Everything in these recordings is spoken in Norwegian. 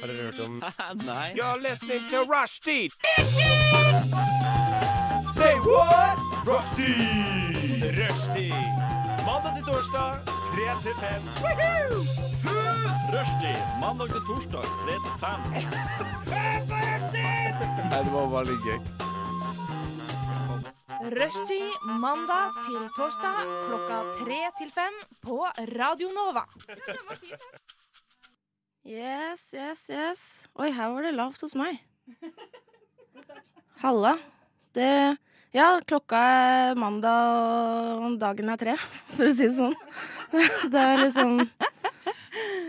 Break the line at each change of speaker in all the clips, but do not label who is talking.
Har dere hørt om
Nei.
You're listening to Rushdie. Say what? Rushdie. Rushdie. Mandag til torsdag, 3 til 5.
Rushdie. Mandag til torsdag, 3 til 5.
Nei, det var bare litt gøy.
Rushtid mandag til torsdag klokka tre til fem på Radio Nova.
Yes, yes, yes. Oi, her var det lavt hos meg. Halla. Det Ja, klokka er mandag, og dagen er tre, for å si det sånn. Det er liksom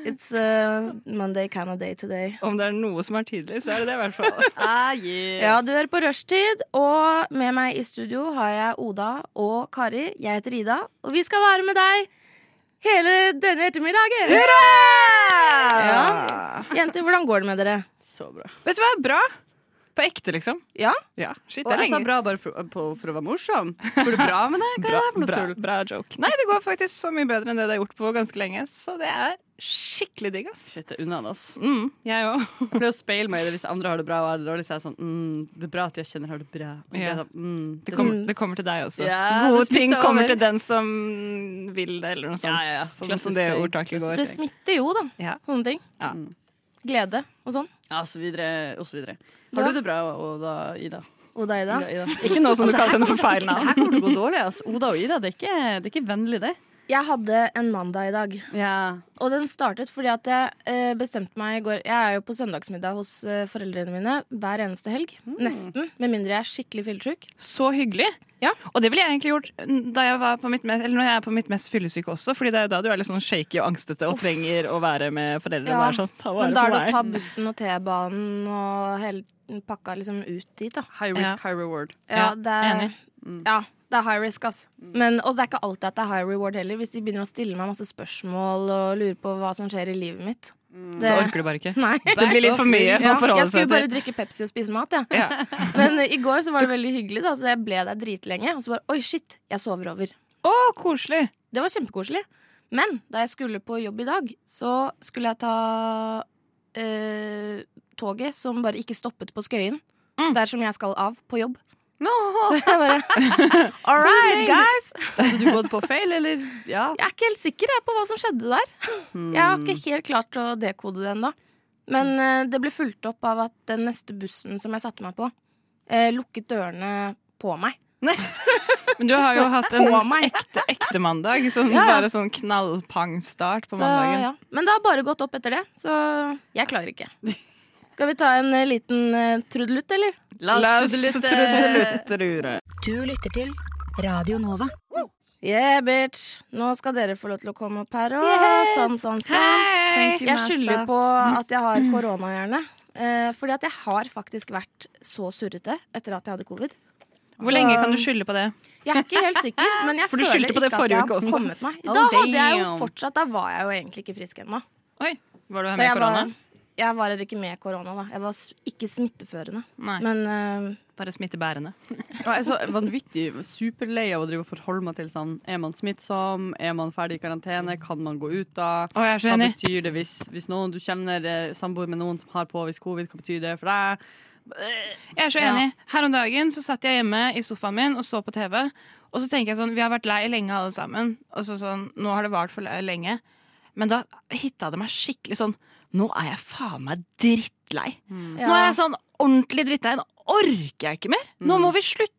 It's a Monday kind of day today.
Om det er noe som er tidlig, så er det det, i hvert fall.
Ah, yeah.
Ja, du hører på Rushtid, og med meg i studio har jeg Oda og Kari. Jeg heter Ida, og vi skal være med deg hele denne ettermiddagen. Ja. Jenter, hvordan går det med dere?
Så bra.
Vet du hva? Bra. På ekte, liksom.
Ja?
Ja, altså, shit,
Og
det er
jeg sa
lenge.
bra bare for, på, for å være morsom. Går det bra med deg?
Bra,
Hva er det her for noe
bra,
tull?
bra joke. Nei, det går faktisk så mye bedre enn det det har gjort på ganske lenge, så det er skikkelig digg, ass.
Shit, det er unnanas.
Mm, jeg òg.
Jeg pleier å speile meg i det hvis andre har det bra og jeg har det dårlig. Så er jeg sånn mm, Det er bra at jeg kjenner har det bra. Og
Ja.
det er sånn, mm,
Det,
det er
kommer- det kommer til deg også.
Ja,
Gode
det smitter
ting kommer
over.
til den som vil det, eller noe sånt.
Ja, ja, ja.
Sånn
Klassisk
som det
saying.
ordtaket går.
Det smitter jo, da.
Ja.
Sånne ting.
Ja.
Glede og sånn.
sånn, ja, så videre, og så videre. Har
Ja.
du det bra, Oda Ida?
Oda Ida.
Ida, Ida.
Ikke noe som du kalte henne for feil
Det
navn.
her kommer til å gå dårlig. Altså. Oda og Ida, det er ikke, det er ikke vennlig, det.
Jeg hadde en mandag i dag.
Ja.
Og den startet fordi at jeg eh, bestemte meg i går Jeg er jo på søndagsmiddag hos eh, foreldrene mine hver eneste helg. Nesten. Med mindre jeg er skikkelig fyllesyk.
Så hyggelig.
Ja.
Og det ville jeg egentlig gjort da jeg var på mitt mest, eller når jeg er på mitt mest fyllesyke også, Fordi det er jo da du er litt sånn shaky og angstete og trenger å være med foreldre.
Ja,
og være sånn, ta
Men
vare
da er
på
det å
meg.
ta bussen og T-banen og hele pakka liksom ut dit, da.
High risk, high reward.
Ja,
Ja,
det er,
enig.
ja, det er high risk, ass. Men, og det er ikke alltid at det er high reward heller. Hvis de begynner å stille meg masse spørsmål og lurer på hva som skjer i livet mitt. Det,
Så orker du bare ikke.
nei.
Det blir litt for mye
Ja,
å forholde
jeg skulle
seg
bare
til.
drikke Pepsi og spise mat, jeg.
Ja.
Men i går så var det veldig hyggelig, da, så jeg ble der dritlenge. Og så bare oi, shit, jeg sover over.
Å, koselig!
Det var kjempekoselig. Men da jeg skulle på jobb i dag, så skulle jeg ta eh, toget som bare ikke stoppet på Skøyen.
Mm.
Der som jeg skal av på jobb.
No.
Så jeg bare All right, guys!
Hadde du gått på feil, eller? Ja.
Jeg er ikke helt sikker jeg, på hva som skjedde der. Jeg har ikke helt klart å dekode det ennå. Men eh, det ble fulgt opp av at den neste bussen som jeg satte meg på, eh, lukket dørene på meg.
Men du har jo hatt en
På meg.
ekte, ekte mandag. Sånn,
Ja, ja.
Bare sånn knallpangstart på
Så,
mandagen.
ja. Men det har bare gått opp etter det, så jeg klager ikke. Skal vi ta en eh, liten eh, trudelutt, eller?
La oss
trudelutte.
trudelutterure.
Du lytter til Radio Nova.
Yeah, bitch! Nå skal dere få lov til å komme opp her og sånn, sånn, sånn.
Thank you,
Jeg skylder
master.
på at jeg har korona, gjerne. Eh, fordi at jeg har faktisk vært så surrete etter at jeg hadde covid.
Hvor lenge kan du skylde på det?
Jeg er ikke helt sikker, men jeg
For du
føler
skyldte på
ikke
det
at
forrige
jeg
uke
har
også.
kommet meg.
Oh,
Da hadde jeg jo
damn.
fortsatt, da var jeg jo egentlig ikke frisk ennå.
Oi, var du
Så
med i
jeg
korona?
var, jeg var ikke med korona, da. Jeg var s- ikke smitteførende.
Nei,
Men eh,
bare smittebærende.
Og Jeg er så vanvittig superlei av å drive og forholde meg til sånn Er man smittsom? Er man ferdig i karantene? Kan man gå ut da?
Å, jeg er så
Hva
enig.
betyr det hvis, hvis noen du kjenner eh, samboer med noen som har påvist covid? Hva betyr det for deg?
Jeg er så enig. Her om dagen så satt jeg hjemme i sofaen min og så på TV. Og så tenker jeg sånn, vi har vært lei lenge alle sammen. Og så sånn, nå har det vart for le- lenge. Men da hitta det meg skikkelig sånn, nå er jeg faen meg drittlei. Nå er jeg sånn ordentlig drittlei. Nå orker jeg ikke mer. Nå må vi slutte.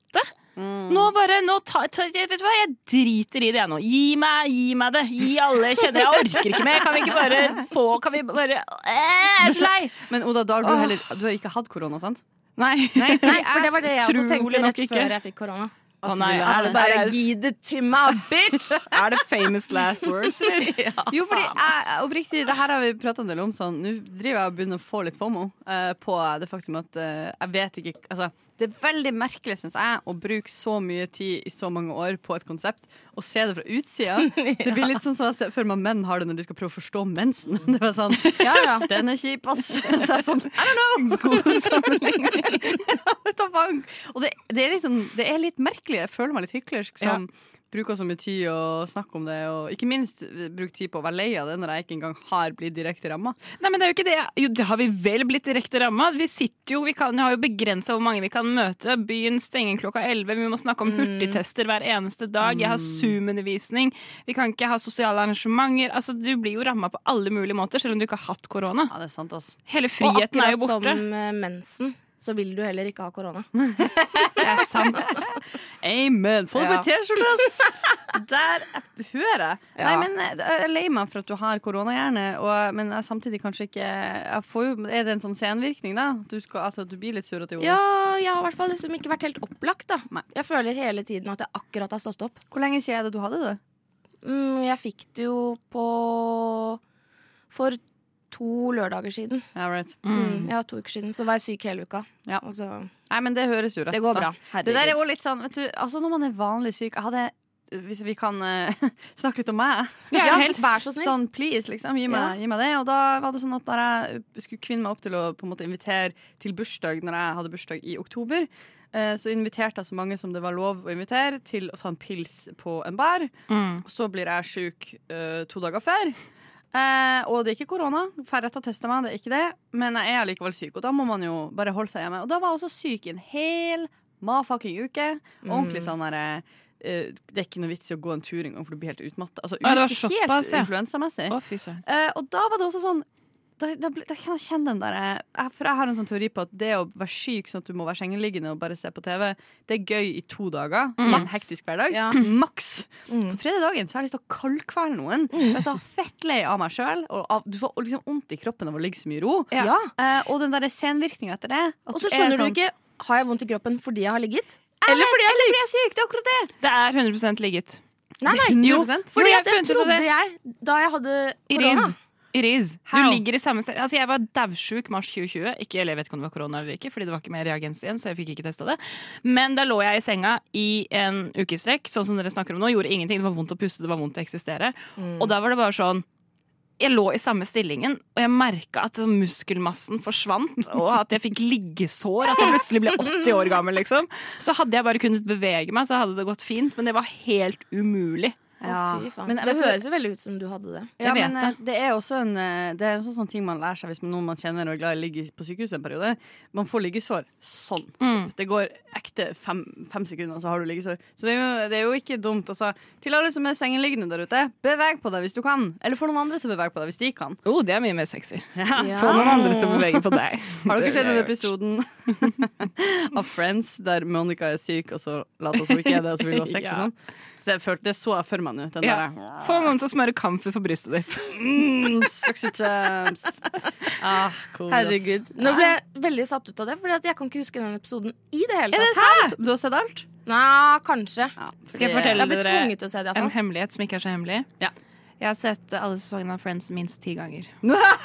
Nå bare, nå ta, ta, vet du hva, jeg driter i det jeg nå. Gi meg, gi meg det. Gi alle jeg kjenner. Jeg orker ikke mer. Kan vi ikke bare få, kan vi bare, Øh, jeg er så lei.
Men Oda, da har du, heller, du har ikke hatt korona, sant?
Nei.
Nei, for det var det jeg også
Utrolig
tenkte
nok
rett
ikke.
før jeg fikk korona.
Å nei, er
ville
det
ha det.
Altså, bare
Bare gi det til meg, bitch!
Er det famous last words, eller?
Jo, fordi
faen,
jeg, oppriktig, det her har vi prata en del om. Sånn, Nå driver jeg og begynner å få litt FOMO eh, på det faktum at eh, jeg vet ikke Altså, det er veldig merkelig, syns jeg, å bruke så mye tid i så mange år på et konsept og se det fra utsida. Det blir litt sånn som jeg ser for meg menn har det når de skal prøve å forstå mensen. Det var sånn Ja, ja, den er kjip, ass. Så jeg er sånn I don't know. God sånn, sammenligning. Ja, vet da faen. og det, det, er liksom, det er litt merkelig. Jeg føler meg litt hyklersk som bruker så mye tid og snakker om det, og ikke minst eh, bruker tid på å være lei av det når jeg ikke engang har blitt direkte ramma.
Nei, men det er jo ikke det. Jo, det har vi vel blitt direkte ramma. Vi sitter jo, vi, kan, vi har jo begrensa hvor mange vi kan møte. Byen stenger klokka 11. Vi må snakke om hurtigtester hver eneste dag. Jeg har Zoom-undervisning. Vi kan ikke ha sosiale arrangementer. Altså, Du blir jo ramma på alle mulige måter, selv om du ikke har hatt korona.
Ja, det er sant, ass.
Hele
Og
friheten er jo
akkurat som
borte.
eh, mensen, så vil du heller ikke ha korona.
Det er sant.
Amen! Få det på T-skjorte, ass! Der hører jeg. Nei,
Ja.
men eh, jeg er lei meg for at du har koronahjerne, og- eh, men jeg samtidig kanskje ikke jeg får jo, Er det en sånn senvirkning, da? At du, skal, altså, at du blir litt surrete i hodet?
Ja, jeg har i hvert fall liksom ikke vært helt opplagt. da
Nei.
Jeg føler hele tiden at jeg akkurat har stått opp.
Hvor lenge siden er det du hadde det?
Mm, jeg fikk det jo på For to lørdager siden.
Ja, right.
Mm. Ja, to uker siden. Så var jeg syk hele uka.
Ja.
Og så,
Nei, men det høres jo rett
det går
da.
bra.
Det der er
Herregud.
jo litt sånn, vet du, altså når man er vanlig syk Jeg hadde, hvis vi kan eh, snakke litt om meg
Ja,
Ja,
helst.
vær så snill.
Sånn, please, liksom, gi meg, gi meg det Og da var det sånn at da jeg skulle kvinne meg opp til Å på en måte invitere til bursdag Når jeg hadde bursdag i oktober eh, Så inviterte jeg så mange som det var lov å invitere Til å ta en pils på en bar
Mm.
Og så blir jeg syk eh, to dager før Eh, og det er ikke korona. Færre til å teste meg, det er ikke det. Men jeg er likevel syk, og da må man jo bare holde seg hjemme. Og da var jeg også syk i en hel mafucking uke. Og Ordentlig
Mm.
sånn derre eh, Det er ikke noe vits i å gå en tur engang, for du blir helt utmatta. Altså,
Ja, det var
ut-
såpass,
helt
ja.
influensamessig.
Å, fy søren.
Eh, og da var det også sånn da, da, ble- da kan jeg kjenne den der eh, jeg, For jeg har en sånn teori på at det å være syk sånn at du må være sengeliggende og bare se på TV, det er gøy i to dager. I en hektisk hverdag.
Mm. Ja. Mm.
Maks. På tredje dagen så har jeg lyst til å kaldkvele noen. For Jeg er så fettlei av meg sjøl. Du får liksom vondt i kroppen av å ligge så mye i ro.
Ja.
Eh, og den der senvirkninga etter det. at
Og så
er
skjønner du
sånn-
ikke Har jeg vondt i kroppen fordi jeg har ligget? Eller fordi jeg er syk?
Jeg er syk, det er akkurat det!
Det er 100 ligget.
Nei, nei.
100%.
Fordi
Jo, jeg
at det
funnet ut av
trodde
det.
jeg da jeg hadde
It
korona.
is. It is. Du
How?
ligger i samme sted. Altså, jeg var daudsjuk mars 2020. Ikke, eller jeg vet ikke om det var korona eller ikke, fordi det var ikke mer reagens igjen. så jeg fikk ikke testet det. Men da lå jeg i senga i en uke i strekk, sånn som dere snakker om nå. Gjorde ingenting. Det var vondt å puste, det var vondt å eksistere. Og da var det bare sånn jeg lå i samme stillingen, og jeg merka at sånn muskelmassen forsvant. Og at jeg fikk liggesår. At jeg plutselig ble 80 år gammel, liksom. Så hadde jeg bare kunnet bevege meg, så hadde det gått fint. Men det var helt umulig.
Å, fy faen.
Men
det
vet du-
høres jo veldig ut som du hadde det.
Jeg
Ja,
vet
men eh, det er også en, eh, det er også en sånn ting man lærer seg hvis noen man kjenner og er glad i ligger på sykehuset en periode. Man får liggesår sånn.
Mm.
Det går ekte fem, fem sekunder, så har du liggesår. Så det er jo, det er jo ikke dumt. Altså. Til alle som er sengeliggende der ute, beveg på deg hvis du kan. Eller få noen andre til å bevege på deg hvis de kan.
Oh, det er mye mer sexy.
Ja.
Få noen andre til å bevege på deg.
Har dere
Det
sett
vil
den
jeg
episoden av Friends der Monica er syk, og så later hun som hun ikke er det, og så vil hun ha sex
Ja.
og sånn? Så jeg følte, det så jeg for meg nå. Den
Ja.
derre
Få noen til å smøre kamfer på brystet ditt.
mm, Sexy times. Ah, cool, ass.
Herregud. Nå ble jeg veldig satt ut av det, Fordi at jeg kan ikke huske den episoden i det hele tatt.
sant? Du har sett alt?
Nei, kanskje.
Skal jeg
Jeg
fortelle
ble
dere
tvunget til å se det,
en
iallfall.
hemmelighet som ikke er så hemmelig?
Ja.
Jeg har sett eh, alle sesongene av Friends minst ti ganger.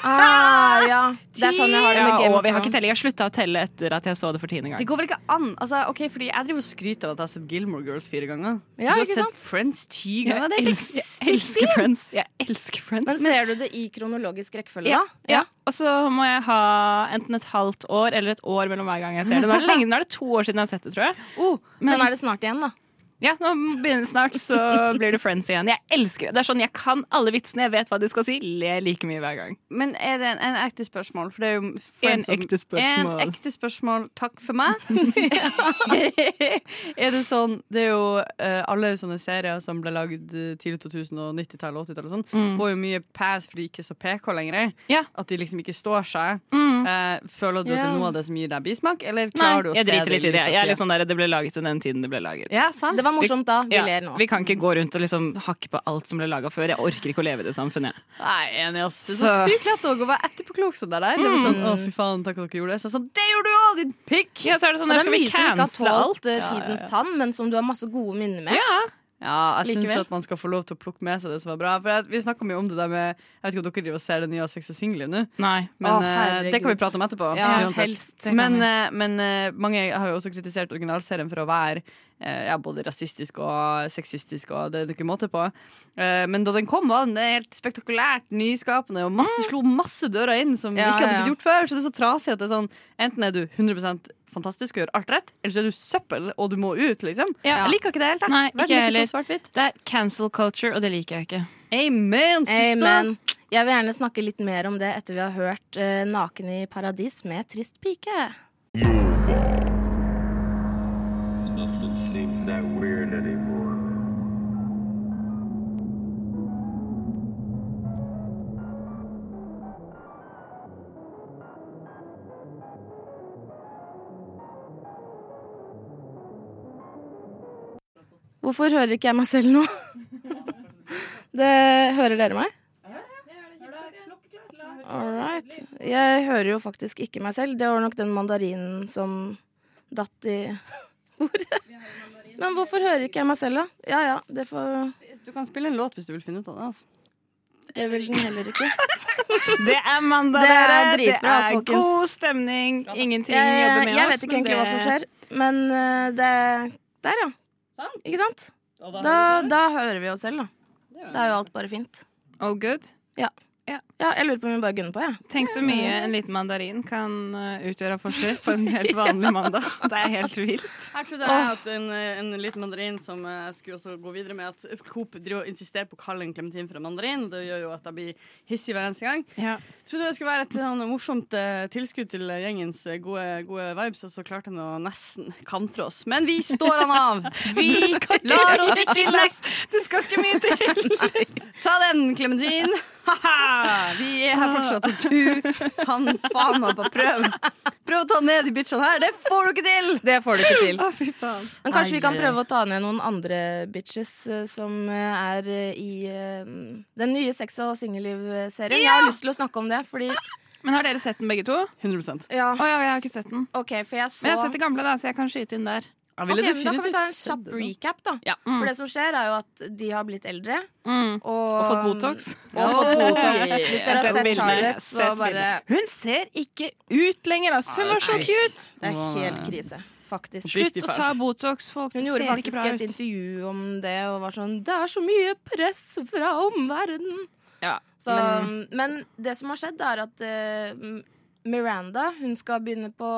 Ah, ja. Det er sånn jeg har det med
Ja,
Game
og
of
vi har ikke telling.
Thrones.
Jeg slutta å telle etter at jeg så det for tiende
Det
gang.
går vel ikke an? Altså, ok, fordi Jeg driver og skryter av at jeg har sett Gilmore Girls fire ganger.
Ja,
du har
ikke
sett
sant?
Friends ti
Jeg
ganger. det er helt
elsker, jeg elsker Friends. Jeg elsker
Men
Friends.
ser du det i kronologisk rekkefølge,
Ja,
da?
ja. Og så må jeg ha enten et halvt år eller et år mellom hver gang jeg ser det. Nå er det, lenge, nå er det to år siden jeg har sett det, tror jeg.
Oh,
Men-
Sånn er det snart igjen, da.
Ja, nå begynner Snart så blir det Friends igjen. Jeg elsker det. Det er sånn, Jeg kan alle vitsene, jeg vet hva de skal si. Le like mye hver gang.
men er det en, en ekte spørsmål? For det er jo Friends som-
ekte spørsmål.
En ekte spørsmål, takk for meg. er det sånn Det er jo eh, alle sånne serier som ble lagd eh, tidlig 2000 og 90-tallet og 80-tallet, og sånn, får jo mye pass fordi de ikke er så PK lenger.
Mm. Ja. Mm.
At de liksom ikke står seg. Eh, føler du at det er
Ja.
noe av det som gir deg bismak,
Nei,
eller klarer du å
jeg
se
driter litt i det.
lyset
Jeg er
til?
litt sånn der, Det ble laget i den tiden det ble laget.
Ja, sant?
Det var morsomt da. Vi
Ja,
ler nå.
vi kan ikke gå rundt og liksom hakke på alt som ble laga før. Jeg orker ikke å leve i det samfunnet. jeg.
Nei, enig ass Det er så,
Så- Mm.
sykt lett å gå og være etterpåklok sånn der Det var sånn, å fy faen, takk at dere gjorde det Så jeg sånn, det gjorde du også, din pikk
Ja, så er det sånn,
Og det
der
er
skal vi
mye som ikke har
cancele alt.
tålt eh, tidens tann, men som du har masse gode minner med.
Ja,
Ja, jeg synes
Likevel.
at man skal få lov til å plukke med seg det som var bra For jeg, vi snakket mye om det der med Jeg vet ikke om dere driver og ser det nye av sex og single nå
Nei.
Men
Å,
eh, det kan vi
herregud.
prate om etterpå
Ja,
uansett.
helst,
det kan
Men, eh, men eh, mange har jo også kritisert originalserien for å være eh, ja, både rasistisk og sexistisk, og det er det ikke måte på. Eh, men da den kom, var den helt spektakulært nyskapende
Mm.
og masse, slo masse dører inn som
Ja,
ikke hadde
ja, ja.
blitt gjort før. Så det er så trasig at det er sånn enten er du 100 fantastisk og gjør alt rett, eller så er du søppel og du må ut, liksom.
Ja.
Jeg liker ikke det helt. jeg.
Nei, ikke
Verden er
heller.
ikke så svart-hvitt.
Det er cancel culture, og det liker jeg ikke.
Amen, sister!
Amen. Eh, Jeg vil gjerne snakke litt mer om det etter vi har hørt eh, 'Naken i paradis' med Trist pike.
Nothing seems that weird anymore.
Hvorfor hører ikke jeg meg selv nå? Det hører dere meg? All right. Jeg hører jo faktisk ikke meg selv. Det var nok den mandarinen som datt i bordet. Men hvorfor hører ikke jeg meg selv, da? Ja ja, det får
Du kan spille en låt hvis du vil finne ut av det. Altså.
Det vil den heller ikke.
Det er mandag,
Det er
dere.
dritbra,
det er
folkens.
god stemning. Ingenting
Jeg,
jobber med
jeg
oss.
vet ikke
men
egentlig hva som
det-
skjer, men eh, det Der, ja. Ikke sant? Da, da hører vi oss selv, da. Da er jo alt bare fint.
All good.
Ja, jeg lurer på om vi bare gunner på, jeg.
Tenk så mye en liten mandarin kan eh, utgjøre av forskjell på en helt vanlig mandag. Det er helt vilt.
Her trodde jeg at en, en liten mandarin som eh, skulle også gå videre med at Coop driver og insisterer på å kalle en klementin for en mandarin. Det gjør jo at jeg blir hissig hver eneste gang. Trodde det skulle være et sånn morsomt eh, tilskudd til gjengens eh, gode, gode vibes, og så klarte han å nesten kantre oss. Men vi står han av! Vi lar oss ikke knekke!
Det skal ikke mye til.
Ta den, Klementin! Haha! Vi er her fortsatt, og du kan faen meg på prøv. Prøv å ta ned de bitchene her. Det får du ikke til!
Det får du ikke til.
Å, fy faen.
Men kanskje vi kan
Nei.
prøve å ta ned noen andre bitches eh, som eh, er eh, i eh, den nye sex- og singelliv-serien. Jeg har lyst til å snakke om det, fordi
Men har dere sett den begge to? Å
100
Ja,
ja, jeg har ikke sett den.
OK, for jeg så
Men jeg har sett det gamle, da, så jeg kan skyte inn der.
Ok, men Da kan vi ta en kjapp recap, da.
Ja.
For det som skjer, er jo at de har blitt eldre.
Mm.
Og,
Og fått Botox.
Og fått botox.
yeah.
Hvis
Jeg
dere
har
har
sett
sett
bildene. Jeg har
Charlotte, så
sett
bare
bildene. Hun ser ikke ut lenger, ass. Hun var så cute!
Det er helt krise, faktisk.
Oppriktig
Slutt å
fælt.
ta Botox, folk.
Hun
Det
gjorde
ser ikke
faktisk
bra
et
ut.
intervju om det og var sånn Det er så mye press fra omverdenen.
Ja,
så, men, det som har skjedd, er at eh, Miranda hun skal begynne på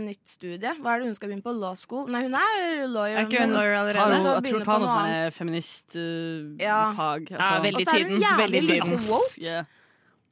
nytt studie. Hva er det hun skal begynne på? Law school? Nei, hun er lawyer.
Er ikke hun
men-
lawyer
Ta
allerede?
Hallo.
noe,
skal
jeg tror
begynne
ta
på
noe
noe
sånn
annet.
feministfag.
Ja.
fag
Ja,
altså.
Og
veldig
så er hun
tiden,
jævlig
veldig
lite
tiden.
woke.
Yeah.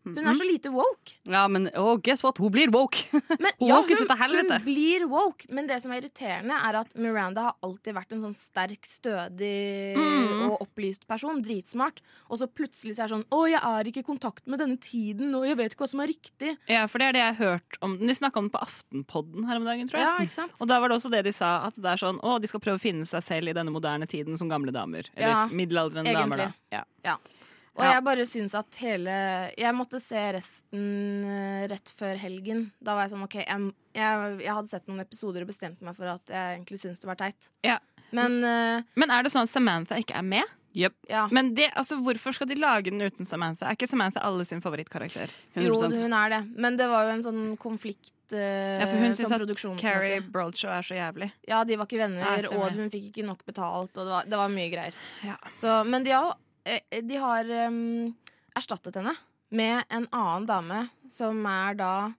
Hun er så lite woke.
Ja, men oh, guess what? Hun blir woke!
Men, ja,
Woke er så til
hun,
helvete.
hun blir woke, men det som er irriterende, er at Miranda har alltid vært en sånn sterk, stødig
Mm.
og opplyst person. Dritsmart. Og så plutselig så er det sånn Å, jeg er ikke i kontakt med denne tiden, og jeg vet ikke hva som er riktig.
Ja, for det er det jeg har hørt om den. De snakka om den på Aftenpodden her om dagen, tror jeg.
Ja, ikke sant?
Og da var det også det de sa, at det er sånn å, de skal prøve å finne seg selv i denne moderne tiden som gamle damer. Eller
Ja,
middelaldrende damer, da.
egentlig.
Ja.
Og
Ja.
jeg bare syns at hele Jeg måtte se resten eh, rett før helgen. Da var jeg sånn OK, jeg, jeg, jeg hadde sett noen episoder og bestemte meg for at jeg egentlig syns det var teit.
Ja.
Men eh,
Men er det sånn at Samantha ikke er med?
ja.
Men det, altså, hvorfor skal de lage den uten Samantha? Er ikke Samantha alle sin favorittkarakter?
100%.
Jo, hun er det. Men det var jo en sånn konflikt eh,
Ja, for hun syns
sånn
at
produksjonsmessig.
Carrie Broadshaw er så jævlig.
Ja, de var ikke venner,
Nei, stemmer.
og hun fikk ikke nok betalt, og det var, det var mye greier.
Ja.
Så, men de har, eh, de har em, erstattet henne med en annen dame som er da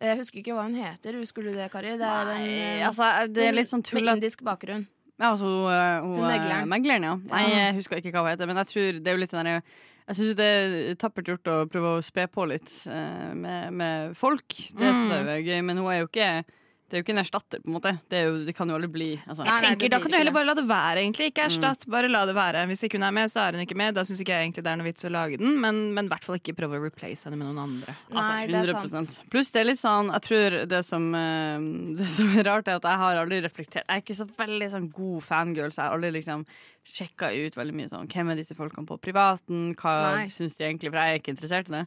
eh, Jeg husker ikke hva hun heter. Husker du det, Kari? Det er en,
Nei,
eh,
altså, det er litt sånn
Med
tullete.
indisk bakgrunn.
Ja, altså, hun, eh, hun,
Hun
eh,
megleren.
megleren, ja. Nei, jeg husker ikke hva hun heter, men jeg tror det er jo litt sånn der, jeg syns det er tappert gjort å prøve å spe på litt eh, med, med folk. Det
Mm.
syns jeg er gøy, men hun er jo ikke det er jo ikke en erstatter, på en måte. Det, er jo, det kan jo aldri bli. Altså.
Nei, nei, det
Tenker, Da
blir ikke Mm.
kan du heller
det.
bare la det være, egentlig. Ikke erstatt, bare la det være. Hvis ikke hun er med, så er hun ikke med. Da syns ikke jeg egentlig det er noe vits å lage den, men men i hvert fall ikke prøve å replace henne med noen andre.
Altså,
Nei, det er sant.
100%. Pluss det er litt sånn Jeg tror det som, eh, det som er rart, er at jeg har aldri reflektert Jeg er ikke så veldig sånn god fangirl, så jeg har aldri liksom sjekka ut veldig mye sånn Hvem er disse folkene på privaten? Hva
Nei.
syns de egentlig? For jeg er ikke interessert i det.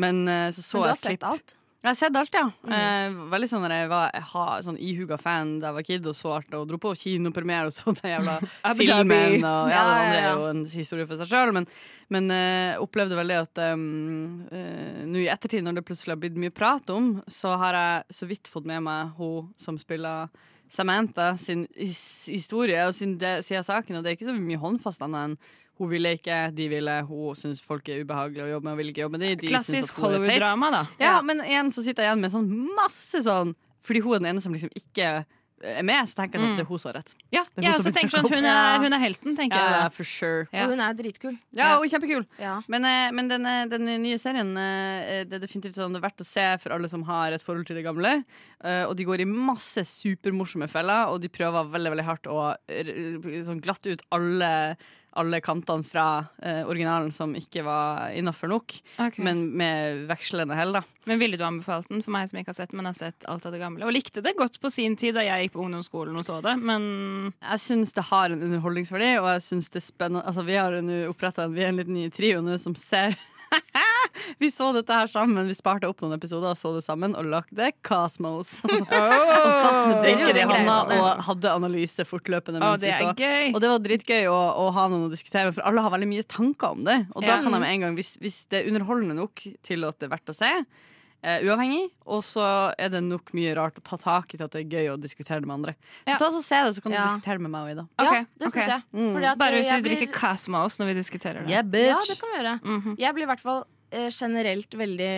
Men eh, så så
Men du
jeg
har
et klipp.
sett alt. Mhm.
Jeg har sett alt, ja. Eh, veldig sånn når jeg var jeg har sånn ihuga fan da jeg var kid og så alt, og dro på kinopremiere og så den jævla
Abu Dhabi.
filmen. Og, ja, det
Ja,
andre
ja, ja.
er jo en historie for seg sjøl, men, men eh, opplevde veldig at em, eh, nå i ettertid, når det plutselig har blitt mye prat om, så har jeg så vidt fått med meg hun som spiller Samantha sin his historie og sin de, side av saken, og det er ikke så mye håndfast annet enn hun ville ikke, de ville, hun syns folk er ubehagelige å jobbe med, og vil ikke jobbe med de. de syns at
Klassisk
hun er teit.
Hollywood-drama, da.
Ja, men igjen så sitter jeg igjen med sånn masse sånn Fordi hun er den ene som liksom ikke er med, så tenker jeg sånn, det er hun som har rett.
Ja,
er hun
jeg
som
også
blir
tenker sånn,
fucka
hun
opp.
er, hun er helten, tenker jeg da.
for sure.
Ja.
Og hun er jo dritkul.
Ja, hun er kjempekul.
Ja.
Men, eh, men den, eh, den nye serien eh, det er definitivt sånn det er verdt å se for alle som har et forhold til det gamle. Eh, Og de går i masse supermorsomme feller, og de prøver veldig veldig hardt å eh, sånn glatte ut alle, alle kantene fra eh, originalen som ikke var innafor nok,
Ok. Men,
men med vekslende hell, da.
ville du anbefalt den for meg som ikke har sett den, men har sett alt av det gamle? Og likte det godt på sin tid da jeg gikk på ungdomsskolen og så det, men
Jeg syns det har en underholdningsverdi, og jeg synes det er spennende Altså, vi har jo nå oppretta en, vi er en liten ny trio nå som ser Vi så dette her sammen. Vi sparte opp noen episoder og så det sammen, og lagde Cosmos. og satt med drikker i
Det er jo
hånda
greit, det.
og hadde analyse fortløpende.
Å,
mens vi
det er
så.
gøy!
Og det var dritgøy å, å ha noen å diskutere med, for alle har veldig mye tanker om det. Og da
Ja.
kan de med en gang, hvis, hvis det er underholdende nok til at det er verdt å se, eh, uavhengig, og så er det nok mye rart å ta tak i til at det er gøy å diskutere det med andre.
Ja.
Så ta oss og se det, så kan du
Ja.
diskutere det med meg og Ida.
Ok,
ja, det syns
ok. Mm.
jeg. Fordi at,
Bare hvis
eh,
vi
jeg blir-
drikker Cosmos når vi diskuterer det.
Ja,
Yeah, bitch!
det kan vi gjøre.
Mhm.
Jeg blir i hvert fall eh, generelt veldig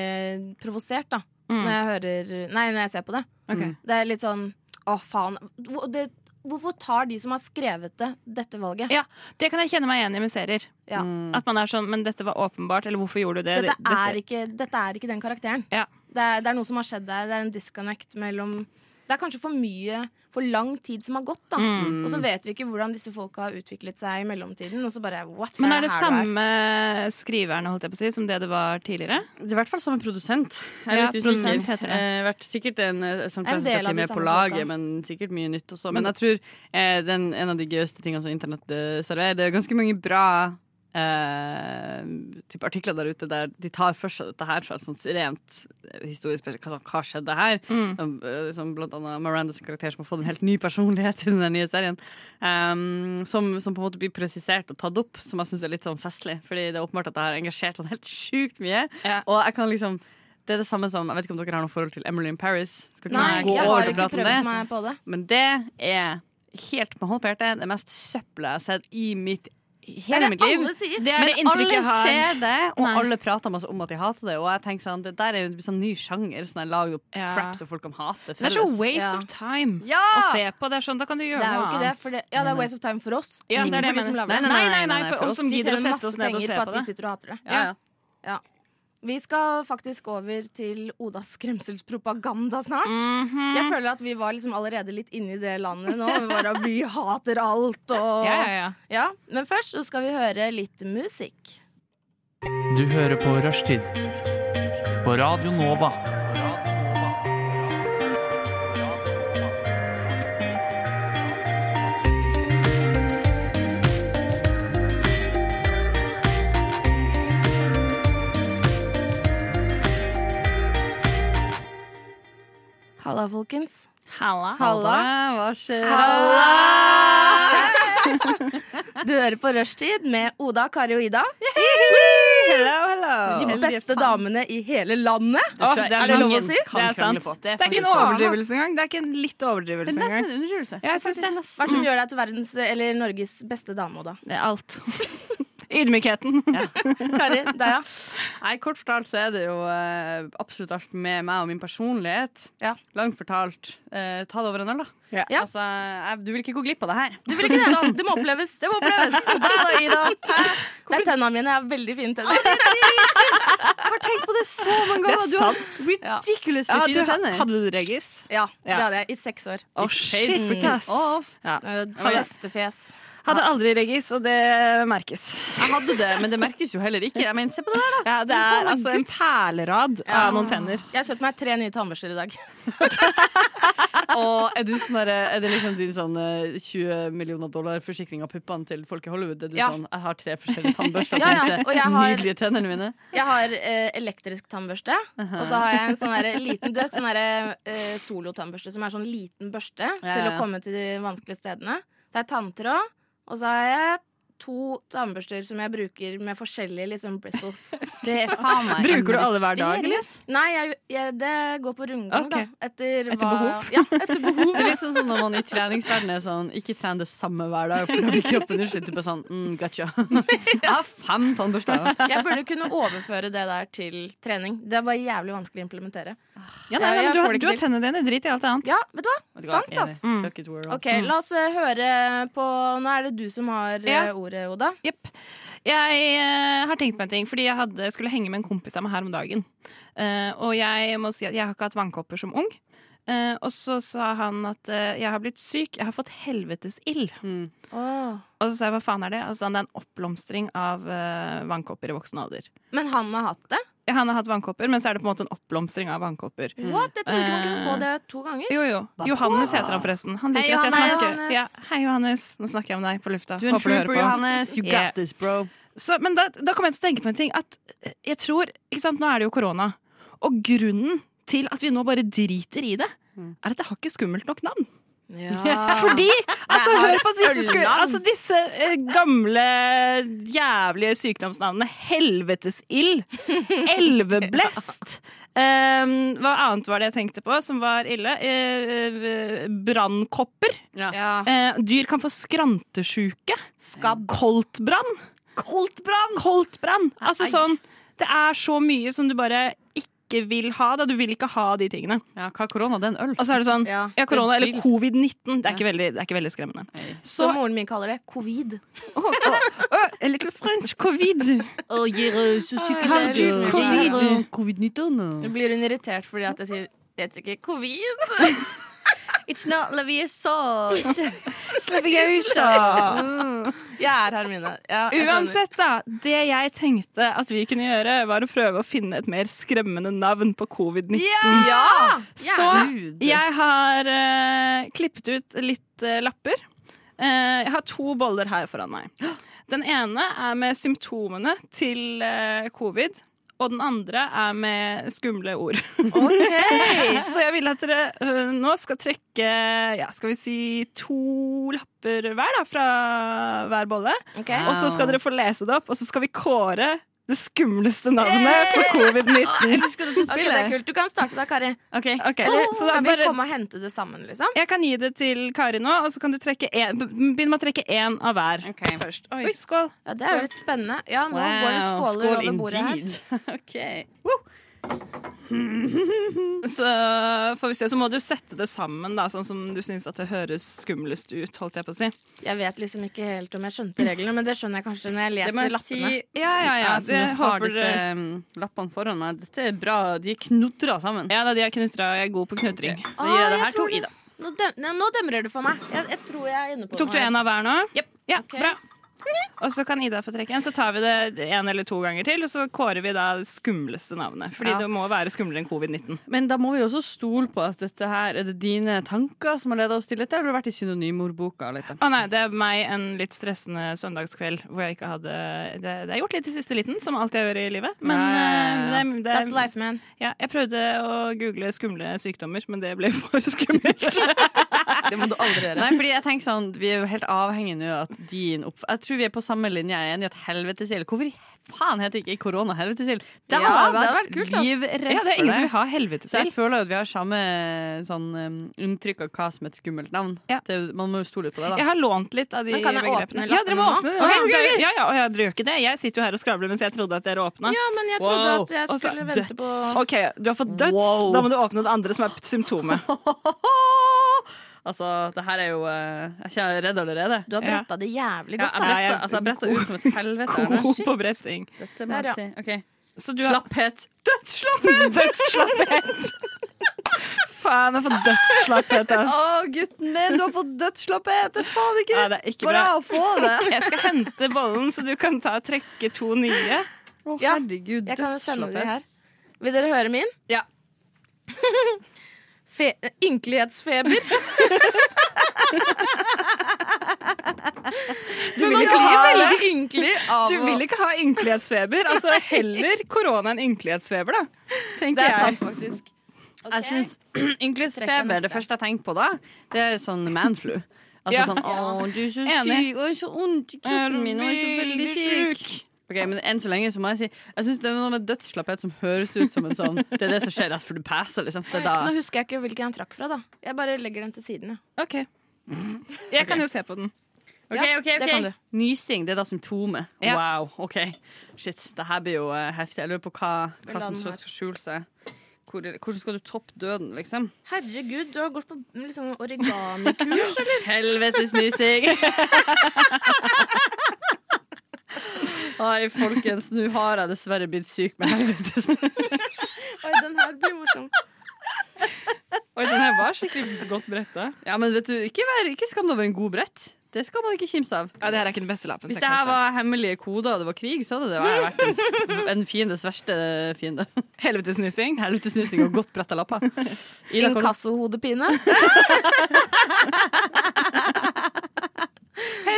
provosert da når jeg hører Nei, når jeg ser på det.
Mm. Ok.
Det er litt sånn Å, faen. Hvor- Det, hvorfor tar de som har skrevet det, dette valget?
Ja, det kan jeg kjenne meg igjen i med serier.
Ja.
At man er sånn, men dette var åpenbart, eller hvorfor gjorde du det?
Dette
Det- dette-
er, ikke, dette er ikke den karakteren.
Ja.
Det, er, det er noe som har skjedd der. Det er en disconnect mellom Det er kanskje for mye, for lang tid som har gått. da Og så vet vi ikke hvordan disse folka har utviklet seg i mellomtiden. Og så bare, what
Men er det
her du
samme skriverne holdt jeg på å si, som det det var tidligere?
Det er i hvert fall samme produsent. Jeg er
Ja,
litt usikker.
produsent heter det.
Eh, vært sikkert en, eh, som
En
kanskje
del av
skal til
de
med på
samme
laget,
folka.
men sikkert mye nytt også. Men jeg tror eh, den, en av de gøyeste tingene som internett eh, serverer, det er ganske mange bra eh, type artikler der ute der de tar for seg dette her fra et sånt rent historisk perspektiv. Hva, hva skjedde her? Som, eh, som blant annet Mirandas karakter som har fått en helt ny personlighet i den der nye serien. Ehm, som, som på en måte blir presisert og tatt opp, som jeg syns er litt sånn festlig. Fordi det er åpenbart at det har engasjert sånn helt sjukt mye.
Ja.
Og jeg kan liksom det er det samme som, jeg vet ikke om dere har noe forhold til Emily in Paris. Skal ikke
Nei,
gå
jeg
over
har
og
ikke
prate om
prøvd
det.
meg på det.
Men det er helt med hånd på hjertet det mest søppelet jeg har sett i mitt,
Det
hele
er
mitt
det
liv.
alle sier.
Det er det
Men
inntrykket
alle
jeg har.
ser det, og
Nei.
alle prater masse om at de hater det. Og jeg tenker sånn, det der er jo en sånn ny sjanger. Sånn der lag opp
Ja.
crap så folk kan hate.
Det er så
felles.
waste
Ja.
of time
Ja!
å se på. Det er sånn, da kan du gjøre
Det er jo
noe
ikke det.
annet.
For det ja, det er waste of time for oss.
Ja,
men
det er
ikke for de
det jeg
som
mener.
lager det.
Nei, nei, nei, nei,
for
for
oss som
De
gidder å
tjener
sette oss
masse
ned og
penger på
se på
at vi
det.
sitter og hater det.
Ja, ja.
Vi skal faktisk over til Odas skremselspropaganda snart.
Mm. Mhm.
Jeg føler at vi var liksom allerede litt inne i det landet nå. Vi, bare, vi hater alt og
Ja, ja, ja.
Ja, Men først så skal vi høre litt musikk.
Du hører på Rushtid på Radio Nova.
Halla, folkens.
Halla.
Halla.
Hva skjer?
Du hører på Rushtid med Oda, Kari og Ida.
Hello, hello.
De beste damene i hele landet.
Åh,
tror jeg
det er
ingen
sant. Det
kan krangle
er sant.
på. Det
Det
er
er ikke en
faktisk sant.
overdrivelse engang. Det er ikke en litt overdrivelse
Men det er
engang.
nesten en underdrivelse.
Ja, jeg synes det.
Hva er det som gjør deg til verdens eller Norges beste dame, Oda?
Det er alt. Ydmykheten.
Kari, deg, ja.
Nei, Kort fortalt så er det jo eh, absolutt alt med meg og min personlighet.
Ja.
Langt fortalt. eh, ta det over en øl, da.
Ja.
Altså, jeg, du vil ikke gå glipp av det her.
Du vil ikke det. Sånn. Det må oppleves. Det må oppleves. Der da, Ida. Hæ? Det er tennene mine. Jeg har veldig fine tenner.
Jeg har tenkt på det så mange
Det
ganger!
er
Du har
sant.
ridiculously
Ja, du,
fine tenner.
hadde du regis?
Ja, det
Ja.
hadde jeg i seks år. Eh,
Å, shit, ass.
Off.
Ja.
Hestefjes.
Hadde aldri regis, og det merkes.
Jeg hadde det, men det merkes jo heller ikke. Jeg mener, se på det der, da!
Ja, det er altså en perlerad av noen tenner.
Jeg har kjøpt meg tre nye tannbørster i dag.
Og er, du sånn der, er det liksom din sånn eh, 20 millioner dollar-forsikring av puppene til folk i Hollywood? Er du
Ja.
sånn 'jeg har tre forskjellige tannbørster
Ja, ja,
til
og
disse
jeg har-
nydelige tennene mine'?
Jeg har eh, elektrisk tannbørste, og så har jeg en sånn der liten du vet, sånn der, eh, solotannbørste, som er sånn liten børste
Ja,
til
ja,
å
ja.
komme til de vanskelige stedene. Så har jeg tanntråd, og så har jeg to tannbørster som jeg bruker med forskjellige liksom, bristles.
Det er faen meg
Bruker du alle hver dag, eller?
Nei, jeg, jeg, det går på rundgang,
Ok.
da. Etter,
Etter behov.
Ja, etter behov.
Det er litt sånn som når man i treningsverdenen er sånn Ikke tren det samme hver dag, for da blir kroppen utslitt. Du bare sånn mm, Gotcha. Jeg har fem tannbørster.
Jeg burde kunne overføre det der til trening. Det er bare jævlig vanskelig å implementere.
Ja, nei,
Ja,
men
jeg
du,
får
har,
det
du
ikke
har tennene dine. Drit i alt annet.
Ja, vet du hva?
Vet du hva?
Sant, ass.
Enig.
Mm.
Fuck it, world.
Ok, la oss eh, høre på Nå er det du som har eh,
Ja.
ordet, Oda.
Jepp. Jeg eh, har tenkt på en ting, fordi jeg hadde, skulle henge med en kompis av meg her om dagen. Eh, og jeg må si at jeg har ikke hatt vannkopper som ung. Eh, og så sa han at eh, jeg har blitt syk, jeg har fått helvetes ild. Og så sa jeg hva faen er det? Og så sa han det er en oppblomstring av eh, vannkopper i voksen alder.
Men han har hatt det?
Ja, han har hatt vannkopper, men så er det på en måte en oppblomstring av vannkopper.
What? Jeg trodde ikke man kunne få det to ganger.
Jo, jo. Johannes heter han forresten. Han liker
Hei,
at jeg
Johannes.
snakker.
Hei, Johannes.
Ja, hei, Johannes. Nå snakker jeg om deg på lufta.
Du er en
Håper du hører på.
trooper, Johannes. You
Yeah.
got this, bro.
Så, men da, da kom jeg til å tenke på en ting. At eh, jeg tror, ikke sant, Nå er det jo korona. Og grunnen til at vi nå bare driter i det,
Mm.
er at det har ikke skummelt nok navn. Fordi, altså
har
Hør på disse, sku,
ølnavn.
altså, disse eh, gamle, jævlige sykdomsnavnene. Helvetesild. Elveblest. em, hva annet var det jeg tenkte på som var ille? Uh, Brannkopper.
Ja.
Eh, dyr kan få skrantesjuke.
Skabb.
Koltbrann. Koltbrann! Altså sånn Det er så mye som du bare ikke vil ha. Da. Du vil ikke ha de tingene.
Ja, hva er korona? Det er en øl.
Og så er det sånn
Ja.
Ja, korona eller
Chill.
covid-19. Det, er ikke veldig- det er ikke veldig skremmende.
Som moren min kaller det. Covid.
Oh, oh, oh, a little French covid. Har du covid?
Nå blir hun irritert fordi at jeg sier det heter ikke covid.
It's not
Jeg er Hermine. Ja, jeg skjønner.
Uansett, da. Det jeg tenkte at vi kunne gjøre, var å prøve å finne et mer skremmende navn på covid-19.
Ja!
Så jeg har eh, klippet ut litt eh, lapper. Eh, jeg har to boller her foran meg. Den ene er med symptomene til eh, covid. Og den andre er med skumle ord. Så jeg vil at dere eh, nå skal trekke ja, skal vi si to lapper hver da, fra hver bolle.
Ok.
Og så skal dere få lese det opp, og så skal vi kåre det skumleste navnet for covid-19.
Ok, det er kult. Du kan starte da, Kari.
Ok,
Eller
så da
skal vi
bare-
komme og hente det sammen, liksom?
Jeg kan gi det til Kari nå, og så kan du trekke en, begynne med å trekke én av hver.
Ok.
Først. Oi, skål.
Ja, Det er jo litt spennende. Ja, nå går det skåler over bordet her.
Så får vi se. Så må du sette det sammen, da, sånn som du syns at det høres skumlest ut. holdt jeg på å si.
Jeg vet liksom ikke helt om jeg skjønte reglene, men det skjønner jeg kanskje når jeg
Det må
leser
jeg si
lappene.
Ja, ja, ja.
jeg som
Jeg
har
håper
disse
dere-
um, lappene foran meg. Dette er bra. De er knotra sammen.
Ja, da, de er knutra, og jeg er god på knutring.
Det gjør det
jeg
her
tror
to
det.
i, da.
Nå, dem, nei, nå demrer du for meg. Jeg, jeg tror jeg er inne på
Tok du
noe her.
én av hver nå?
Jep.
Ja,
Ok.
bra. Og så kan Ida få trekke en, så tar vi det en eller to ganger til. Og så kårer vi da det skumleste navnet. Fordi
Ja.
det må være skumlere enn covid-19.
Men da må vi også stole på at dette her er det dine tanker som har leda oss til dette, eller har du vært i synonymordboka? litt, da?
Å nei, det er meg en litt stressende søndagskveld hvor jeg ikke hadde Det, det er gjort litt i siste liten, som alt jeg gjør i livet. Men
Ja, ja, ja, ja.
eh, det,
That's
det,
life, man.
ja, jeg prøvde å google skumle sykdommer, men det ble for skummelt.
Det må du aldri gjøre.
Nei, fordi jeg tenker sånn, Vi er jo helt avhengige nå at din opp... Jeg tror vi er på samme linje. Jeg er enig i at helvetesild Hvorfor i faen heter ikke korona helvetesild? Det
Ja, det
hadde jeg
hadde
vært
vært kult, ass.
livredd
ja, det er
for
ingen som
det.
vil ha
Så jeg
helvetesild.
føler jo at vi har samme sånn, um, inntrykk av hva som er et skummelt navn.
Ja.
Det, er jo- man må jo stole litt på det, da.
Jeg har lånt litt av de
Men kan jeg
begrepene.
åpne
ja, dere må
lappen nå?
åpne det.
Ok, ok,
Det- Ja, ja, og jeg, dere gjør ikke det. Jeg sitter jo her og skravler mens jeg trodde at dere åpna.
Ja, men jeg trodde
Wow.
at jeg
Og så
skulle vente på
OK, du har fått døds.
Wow.
Da må du åpne det andre som er symptomet.
Altså, det her er jo eh, Jeg kjenner jeg er redd allerede.
Du har bretta det jævlig godt,
Ja, jeg
da.
Nei, jeg-
bretta, altså, jeg bretta ut som et helvete. her.
God på bretting.
Dette må
Der, ja.
jeg si. Ok.
Så du har
Slapphet. Dødsslapphet!
dødsslapphet! Faen, jeg har fått dødsslapphet, ass.
gutten min, du har fått dødsslapphet! Det er faen ikke,
Nei, det er ikke bra.
å få det!
Jeg skal hente bollen, så du kan ta og trekke to nye.
Ja,
herregud,
Jeg kan jo sende de her. Vil dere høre min?
Ja.
Fe ynkelighetsfeber.
Du vil
Jeg blir veldig ynkelig av
Du vil ikke ha ynkelighetsfeber. Altså heller korona enn ynkelighetsfeber, da. Tenker
Det er
jeg.
sant, faktisk.
Jeg syns
Trekker
ynkelighetsfeber,
neste.
det første jeg tenker på da, det er sånn manflu. Altså
Ja.
sånn 'Å, du er så
Enig.
syk, og jeg er så vondt i
Eh,
kroppen min, og jeg er så veldig syk'. Ok, men enn så lenge så må jeg si Jeg synes det er noe med dødsslapphet som høres ut som en sånn Det er det som skjer rett før du passer, liksom. Det er da
Nå husker jeg ikke hvilken han trakk fra, da. Jeg bare legger den til siden. jeg.
Ok. Jeg kan jo se på den.
Ok,
Ja,
ok,
det kan du.
ok Nysing, det er da symptomet.
Ja.
Wow, OK. Shit, det her blir jo eh, heftig. Jeg lurer på hva, hva
la
som
den
så
her.
skal skjule seg. Hvor, hvordan skal du toppe døden, liksom?
Herregud, du har gått på liksom, origamikurs.
Helvetes nysing! Nei, folkens, nå har jeg dessverre blitt syk med helvetes nysing.
Oi, den her blir morsom.
Oi, den her var skikkelig godt bretta.
Ja, men vet du, ikke, vær, ikke skam deg over en god brett. Det skal man ikke kimse av.
Ja, det her er ikke den beste lappen.
Hvis
så
det
jeg
her
kan
var hemmelige koder og det var krig, så hadde det vært en, en fiendes verste fiende.
stå. Helvetesnusing.
Helvetesnusing og godt bretta lapper. Ida, kan du-
Inkassohodepine.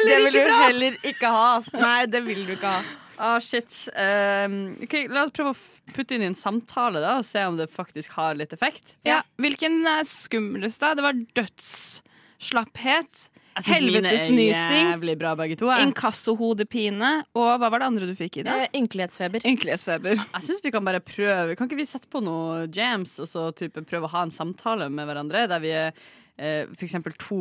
Det vil du heller ikke ha. ass. Nei, det vil du ikke ha.
Ah, shit. Um, ok, la oss prøve å f- putte inn i en samtale da, og se om det faktisk har litt effekt.
Ja. Hvilken er skumlest, da? Det var dødsslapphet,
Altså,
helvetesnysing,
Jævlig bra, begge to. Jeg,
inkassohodepine og hva var det andre du fikk i det?
Eh, Ynkelighetsfeber.
Ynkelighetsfeber.
jeg syns vi kan bare prøve. Kan ikke vi sette på noe jams og så type prøve å ha en samtale med hverandre, der vi er eh, for eksempel to,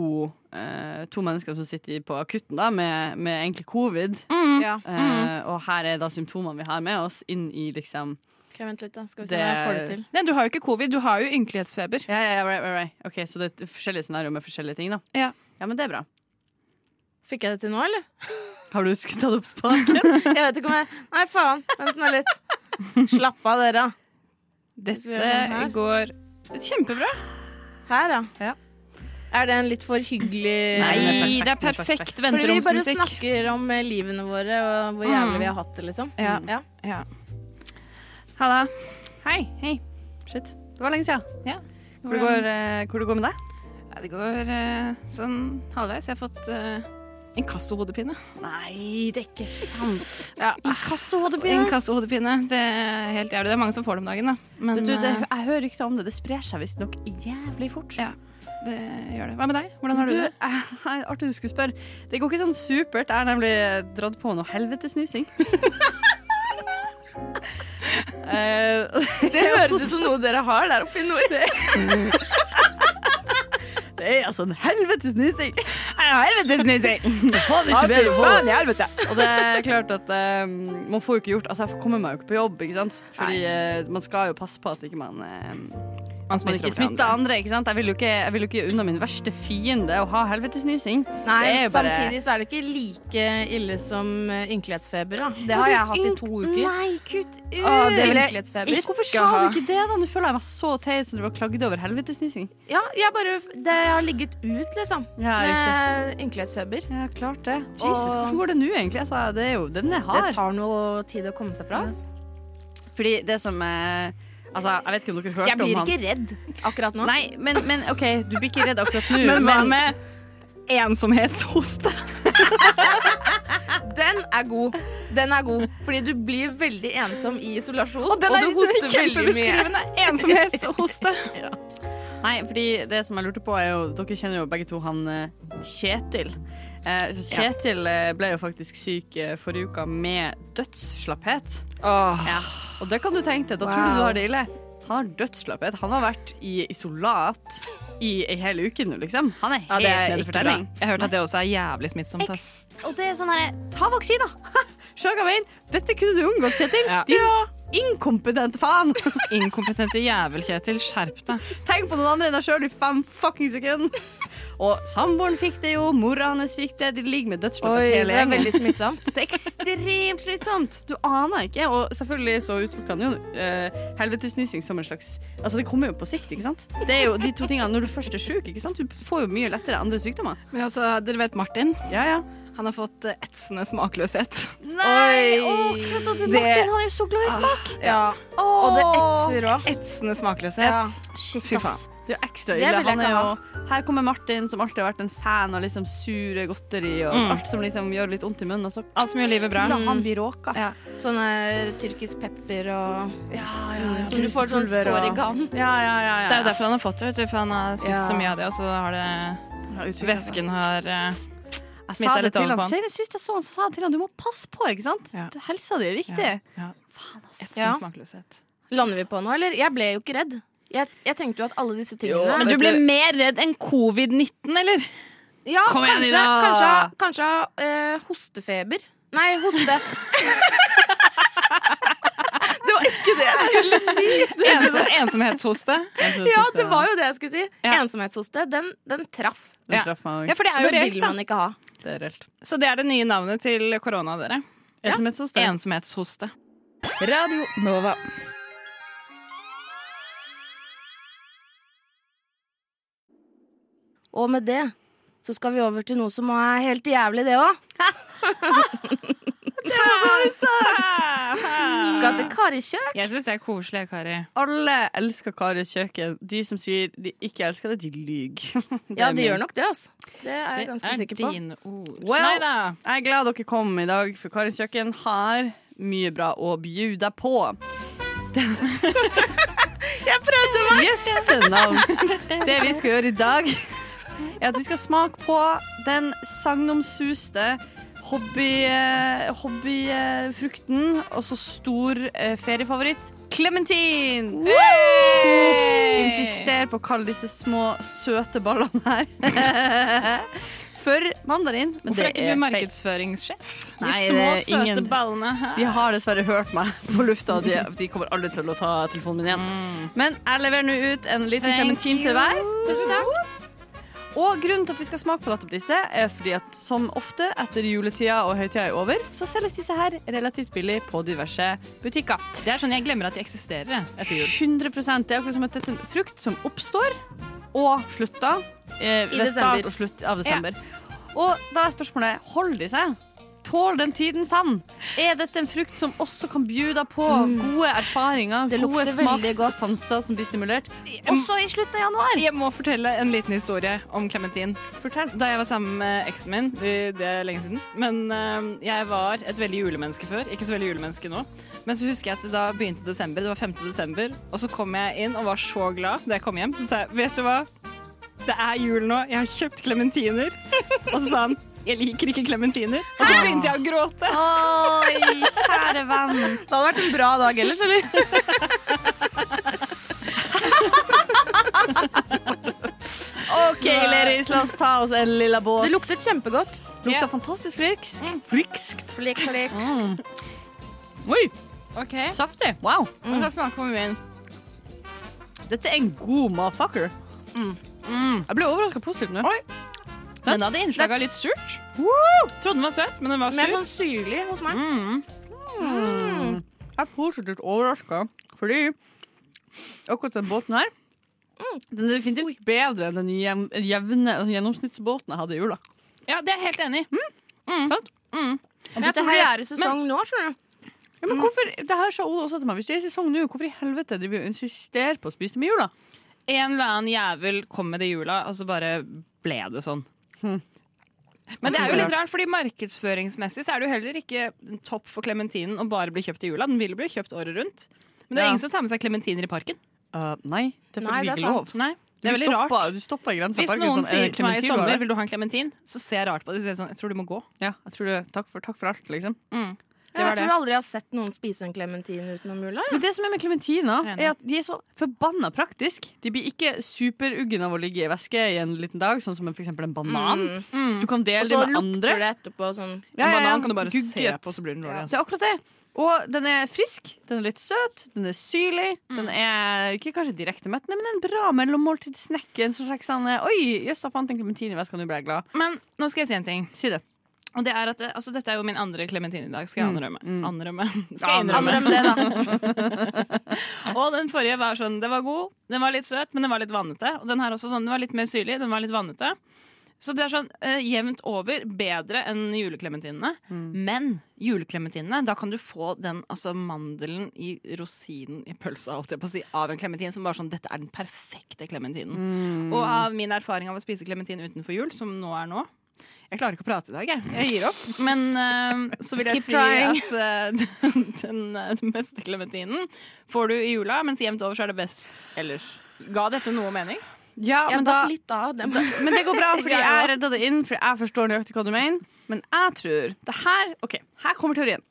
eh, to mennesker som sitter på akutten da, med, med egentlig covid.
Mm.
Ja.
Eh, og her er da symptomene vi har med oss inn i liksom
Ok, vent litt, da. Skal vi se
Det-
om jeg får det til.
Nei, du har jo ikke covid, du har jo ynkelighetsfeber.
Ja, ja, ja, right, right, right. Ok, Så det er et forskjellige scenarioer med forskjellige ting, da.
Ja.
ja, men det er bra.
Fikk jeg det til nå, eller?
Har du husket tatt opp spaken?
Jeg vet ikke om jeg Nei, faen. Vent nå litt. Slapp av, dere. Skal vi
Dette
gjøre sånn her?
går kjempebra.
Her, ja.
Ja.
Er det en litt for hyggelig
Nei,
den
det
er
er
perfekt,
perfekt
den er
Fordi vi bare
venteromsmusikk.
snakker om eh, livene våre og hvor
Mm.
jævlig vi har hatt det, liksom.
Ja.
Ja.
Halla. Hei. Hei.
Shit. Det var lenge siden.
Ja.
Hvor det går, eh, hvor det går med deg?
Ja, det går eh, sånn halvveis. Jeg har fått eh, inkassohodepine.
Nei, det er ikke sant.
Ja.
Inkassohodepine.
Inkassohodepine. Det er helt jævlig. Det er mange som får det om dagen, da. Men
Vet du, det,
eh,
jeg hører rykter om det. Det sprer seg visstnok jævlig fort.
Ja. det gjør det. Hva med deg? Hvordan har du, det?
eh, artig du skulle spørre. Det går ikke sånn supert. Jeg har nemlig eh, dratt på noe helvetesnysing. det høres ut som noe dere har der oppe i nord. Det, det er altså en helvetesnysing.
Helvetesnysing!
Faen, ikke bedre å få det.
i helvete!
Og det er klart at eh, man får jo ikke gjort Altså, jeg kommer meg jo ikke på jobb, ikke sant? Fordi eh, man skal jo passe på at ikke man eh,
Man
man
smitter
ikke
opp til
smitter
andre.
andre, ikke sant? Jeg vil jo ikke, jeg vil jo ikke unna min verste fiende å ha helvetesnysing.
Nei,
Det er jo bare-
samtidig så er det ikke like ille som eh, ynkelighetsfeber, da. Det har jeg hatt i to uker.
Nei, kutt ut!
Å, det vil jeg
Ynkelighetsfeber.
Hvorfor sa
ha.
du ikke det, da? Nå føler jeg meg så teit som du var klagd over helvetesnysing.
Ja, jeg bare Det har ligget ut, liksom.
Ja,
med ynkelighetsfeber.
Ja, klart det.
Og-
Jesus, hvordan går det nå, egentlig? Altså, det er jo den er
Det
hard.
tar noe tid å komme seg fra. ass.
Fordi det som eh, Altså, jeg vet ikke om dere hørte
Jeg blir
om han
ikke redd akkurat nå.
Nei, men, men OK, du blir ikke redd akkurat nå,
Men hva med ensomhetshoste?
Den er god. Den er god. Fordi du blir veldig ensom i isolasjon. Og,
Den er,
du hoster veldig mye.
kjempebeskrivende. Ensomhetshoste.
Nei, fordi det som jeg lurte på er jo Dere kjenner jo begge to han eh, Kjetil. Eh, Kjetil eh, ble jo faktisk syk eh, forrige uka med dødsslapphet. Ja. Og det kan du tenke deg. Da tror du du
Wow.
har det ille. Han har dødsslapphet. Han har vært i isolat i ei hel uke nå, liksom. Han er helt
Ja, det er
nede
ikke
for
bra.
telling.
Jeg har hørt at det også er jævlig smittsomt. Ass.
Og det er sånn herre Ta vaksina! Skjønner du hva jeg mener? Dette kunne du unngått, Kjetil.
Ja.
Din inkompetente faen.
Inkompetente jævel, Kjetil. Skjerp deg.
Tenk på noen andre enn deg sjøl i fem fucking sekunder. Og samboeren fikk det jo, mora hans fikk det. De ligger med dødsslapp
Oi,
hele
det er
gjengen.
veldig smittsomt.
Det er ekstremt slitsomt. Du aner ikke. Og selvfølgelig så utvikler han jo eh, helvetesnysing som en slags Altså, det kommer jo på sikt, ikke sant? Det er jo de to tingene når du først er sjuk, ikke sant. Du får jo mye lettere andre sykdommer.
Men altså, dere vet Martin?
Ja, ja.
Han har fått eh, etsende smakløshet.
Nei!
Oi.
Å, kødda du,
Det-
Martin! Han er jo så glad i smak!
Ah,
Ja.
Åh.
Og det etser òg. Etsende
Ja.
smakløshet.
Shit,
Fy
ass.
Det er jo ekstra
Det
ille.
vil jeg
Han er
ikke
jo, her kommer Martin, som alltid har vært en fan av liksom sure godteri og
Mm.
alt som liksom gjør litt vondt i munnen. Og så
Alt som gjør livet bra.
la han bli råka.
Ja.
Sånne tyrkisk pepper og Som du får sånn
Brusepulver
sår i
og-
ganen.
Ja, ja, ja, ja.
Det er jo derfor han har fått det, vet du, for han har spist
Ja.
så mye av det, og så har det Væsken har eh,
Jeg
smittet
sa det
litt
til
over
han.
på han.
Senest Sist jeg så han, så sa jeg til han du må passe på, ikke sant?
Ja.
Helsa di er viktig.
ja. Etsende
Ja.
smakløshet.
Lander vi på nå, eller? Jeg ble jo ikke redd. Jeg, jeg tenkte jo at alle disse tingene
Men du ble mer redd enn covid-19, eller?
Ja,
Kom igjen,
kanskje,
Ida!
kanskje, kanskje eh, hostefeber. Nei, hoste.
Ensom, ensomhetshoste?
Ja, det var jo det jeg skulle si.
Ja.
Ensomhetshoste, den, den traff.
Den
Ja.
traff meg
Ja,
òg.
for det er jo
Den
reelt,
vil
da.
man ikke ha.
Det er reelt.
Så det er det nye navnet til korona, dere.
Ensomhetshoste.
Ensomhetshoste.
Radio Nova.
Og med det så skal vi over til noe som er helt jævlig, det òg. Skal
Ah.
til Karikjøk.
Jeg syns det er koselig, Kari.
Alle elsker Karis kjøkken. De som sier de ikke elsker det, de lyger. Det
Ja,
er
de
min.
gjør nok det, altså. Det er jeg ganske sikker på.
dine ord.
Well-
Nei da.
Jeg er glad dere kom i dag, for Karis kjøkken har mye bra å bjuda på. Jeg prøvde meg! Jøsse navn. Det vi skal gjøre i dag, er at vi skal smake på den sagnomsuste hobby, eh, hobbyfrukten, og så stor eh, feriefavoritt, Clementin! Insister på å kalle disse små, søte ballene her for mandarin. Men
Hvorfor er
det
ikke du
feil.
markedsføringssjef? De
Nei,
små,
det er
søte
ingen-
ballene her.
De har dessverre hørt meg på lufta, og de, de kommer aldri til å ta telefonen min igjen. Men jeg leverer nå ut en liten
Mm. Thank you.
klementin til hver. Og grunnen til at vi skal smake på nettopp disse, er fordi at som ofte etter juletida og høytida er over, så selges disse her relativt billig på diverse butikker.
Det er sånn jeg glemmer at de eksisterer jeg, etter jul.
100 Det er akkurat som at dette er en frukt som oppstår og slutter eh, ved
desember.
start og slutt av desember. Og da er spørsmålet holder de seg. Tål den tidens tann? Er dette en frukt som også kan bjuda på gode erfaringer,
Mm. Det
gode
lukter veldig godt.
smakssanser som blir stimulert?
Også i slutten av januar.
Jeg må fortelle en liten historie om Clementine.
Fortell.
Da jeg var sammen med eksen min, det det er lenge siden, men eh, jeg var et veldig julemenneske før, ikke så veldig julemenneske nå. Men så husker jeg at da begynte desember, det var 5. desember, og så kom jeg inn og var så glad da jeg kom hjem. Så sa jeg, vet du hva, det er jul nå, jeg har kjøpt klementiner. Og så sa han, jeg liker ikke klementiner. Og så begynte jeg å gråte.
Oi, kjære venn.
Det hadde vært en bra dag ellers, eller?
OK, Leris, la oss ta oss en lilla båt.
Det luktet kjempegodt.
lukter
Ja.
fantastisk frikskt. Frikskt.
Flik, flik.
Oi,
Ok,
saftig. Wow.
nå skal smake på min.
Dette er en god motherfucker.
Mm.
Mm. Jeg ble overraska positivt nå.
Den hadde innslag av litt surt. Trodde den var søt, men den var
Mer
sur.
sånn syrlig hos meg.
Jeg er positivt overraska, fordi akkurat den båten her Den er definitivt bedre enn den jevn- jevne altså gjennomsnittsbåten jeg hadde i jula.
Ja, det er jeg helt enig i.
Sant?
Jeg tror de er i sesong nå, skjønner du.
Ja,
Mm.
men hvorfor, det her sa Ola også til meg Hvis de er i sesong nå, hvorfor i helvete driver vi og insisterer på å spise dem i jula?
en eller annen jævel kom med det i jula, og så bare ble det sånn.
Hm.
Men det er jo litt rart, fordi markedsføringsmessig så er det jo heller ikke topp for klementinen å bare bli kjøpt i jula. Den vil bli kjøpt året rundt. Men det er
Ja.
ingen som tar med seg klementiner i parken.
Uh, nei, det er
Nei,
faktisk
det er
ikke lov.
Nei,
Du
det er veldig
stopper,
rart.
du stopper i grensa.
Hvis
Parken,
noen
sånn,
sier
er det
til meg i
klementin du har
sommer
der?
vil du ha en klementin, så ser jeg rart på det. Så sier jeg sånn, jeg tror du må gå.
ja, jeg tror det, takk, for, takk for alt, liksom.
Det var
Jeg tror
det.
aldri jeg har sett noen spise en klementin utenom jula.
Men det som er med klementiner,
Jeg er enig.
er at de er så forbanna praktisk. De blir ikke superuggen av å ligge i væske i en liten dag, sånn som en- for eksempel en
Mm.
banan. Du kan dele
Og
det
så
med andre.
lukter det etterpå sånn.
Ja, ja, ja.
En banan kan du bare se
Gugget.
på, så blir den dårlig.
Det er
Altså.
akkurat det. Og den er frisk, den er litt søt, den er syrlig.
Mm.
Den er ikke kanskje direkte mettende, men en bra mellommåltidssnack. En slags sånn eh, Oi, jøss, da fant jeg en klementin i veska, nå ble jeg glad.
Men nå skal jeg si en ting.
Si det.
Og det er at, eh, altså, dette er jo min andre klementin i dag, skal
Mm.
jeg anrømme. Anrømme. Skal jeg innrømme.
Andre med det, da.
Og den forrige var sånn, det var god, den var litt søt, men den var litt vannete. Og den her også sånn, den var litt mer syrlig, den var litt vannete. Så det er sånn eh, jevnt over bedre enn juleklementinene.
Mm.
Men juleklementinene, da kan du få den altså mandelen i rosinen i pølsa holdt jeg på å si, av en klementin som bare sånn Dette er den perfekte klementinen.
Mm.
Og av min erfaring av å spise klementin utenfor jul, som nå er nå Jeg klarer ikke å prate i dag, jeg. Jeg gir opp. Men eh, så vil jeg
Keep
si
trying.
at eh, den, den, eh, den beste klementinen får du i jula, mens jevnt over så er det best ellers. Ga dette noe mening?
Ja,
Jeg
men,
datt
da,
litt av dem. Det
men det går bra, fordi
Jeg
jeg
også.
redda det inn. Fordi jeg forstår nøyaktig hva du mener. Men jeg tror det her OK, her kommer teorien.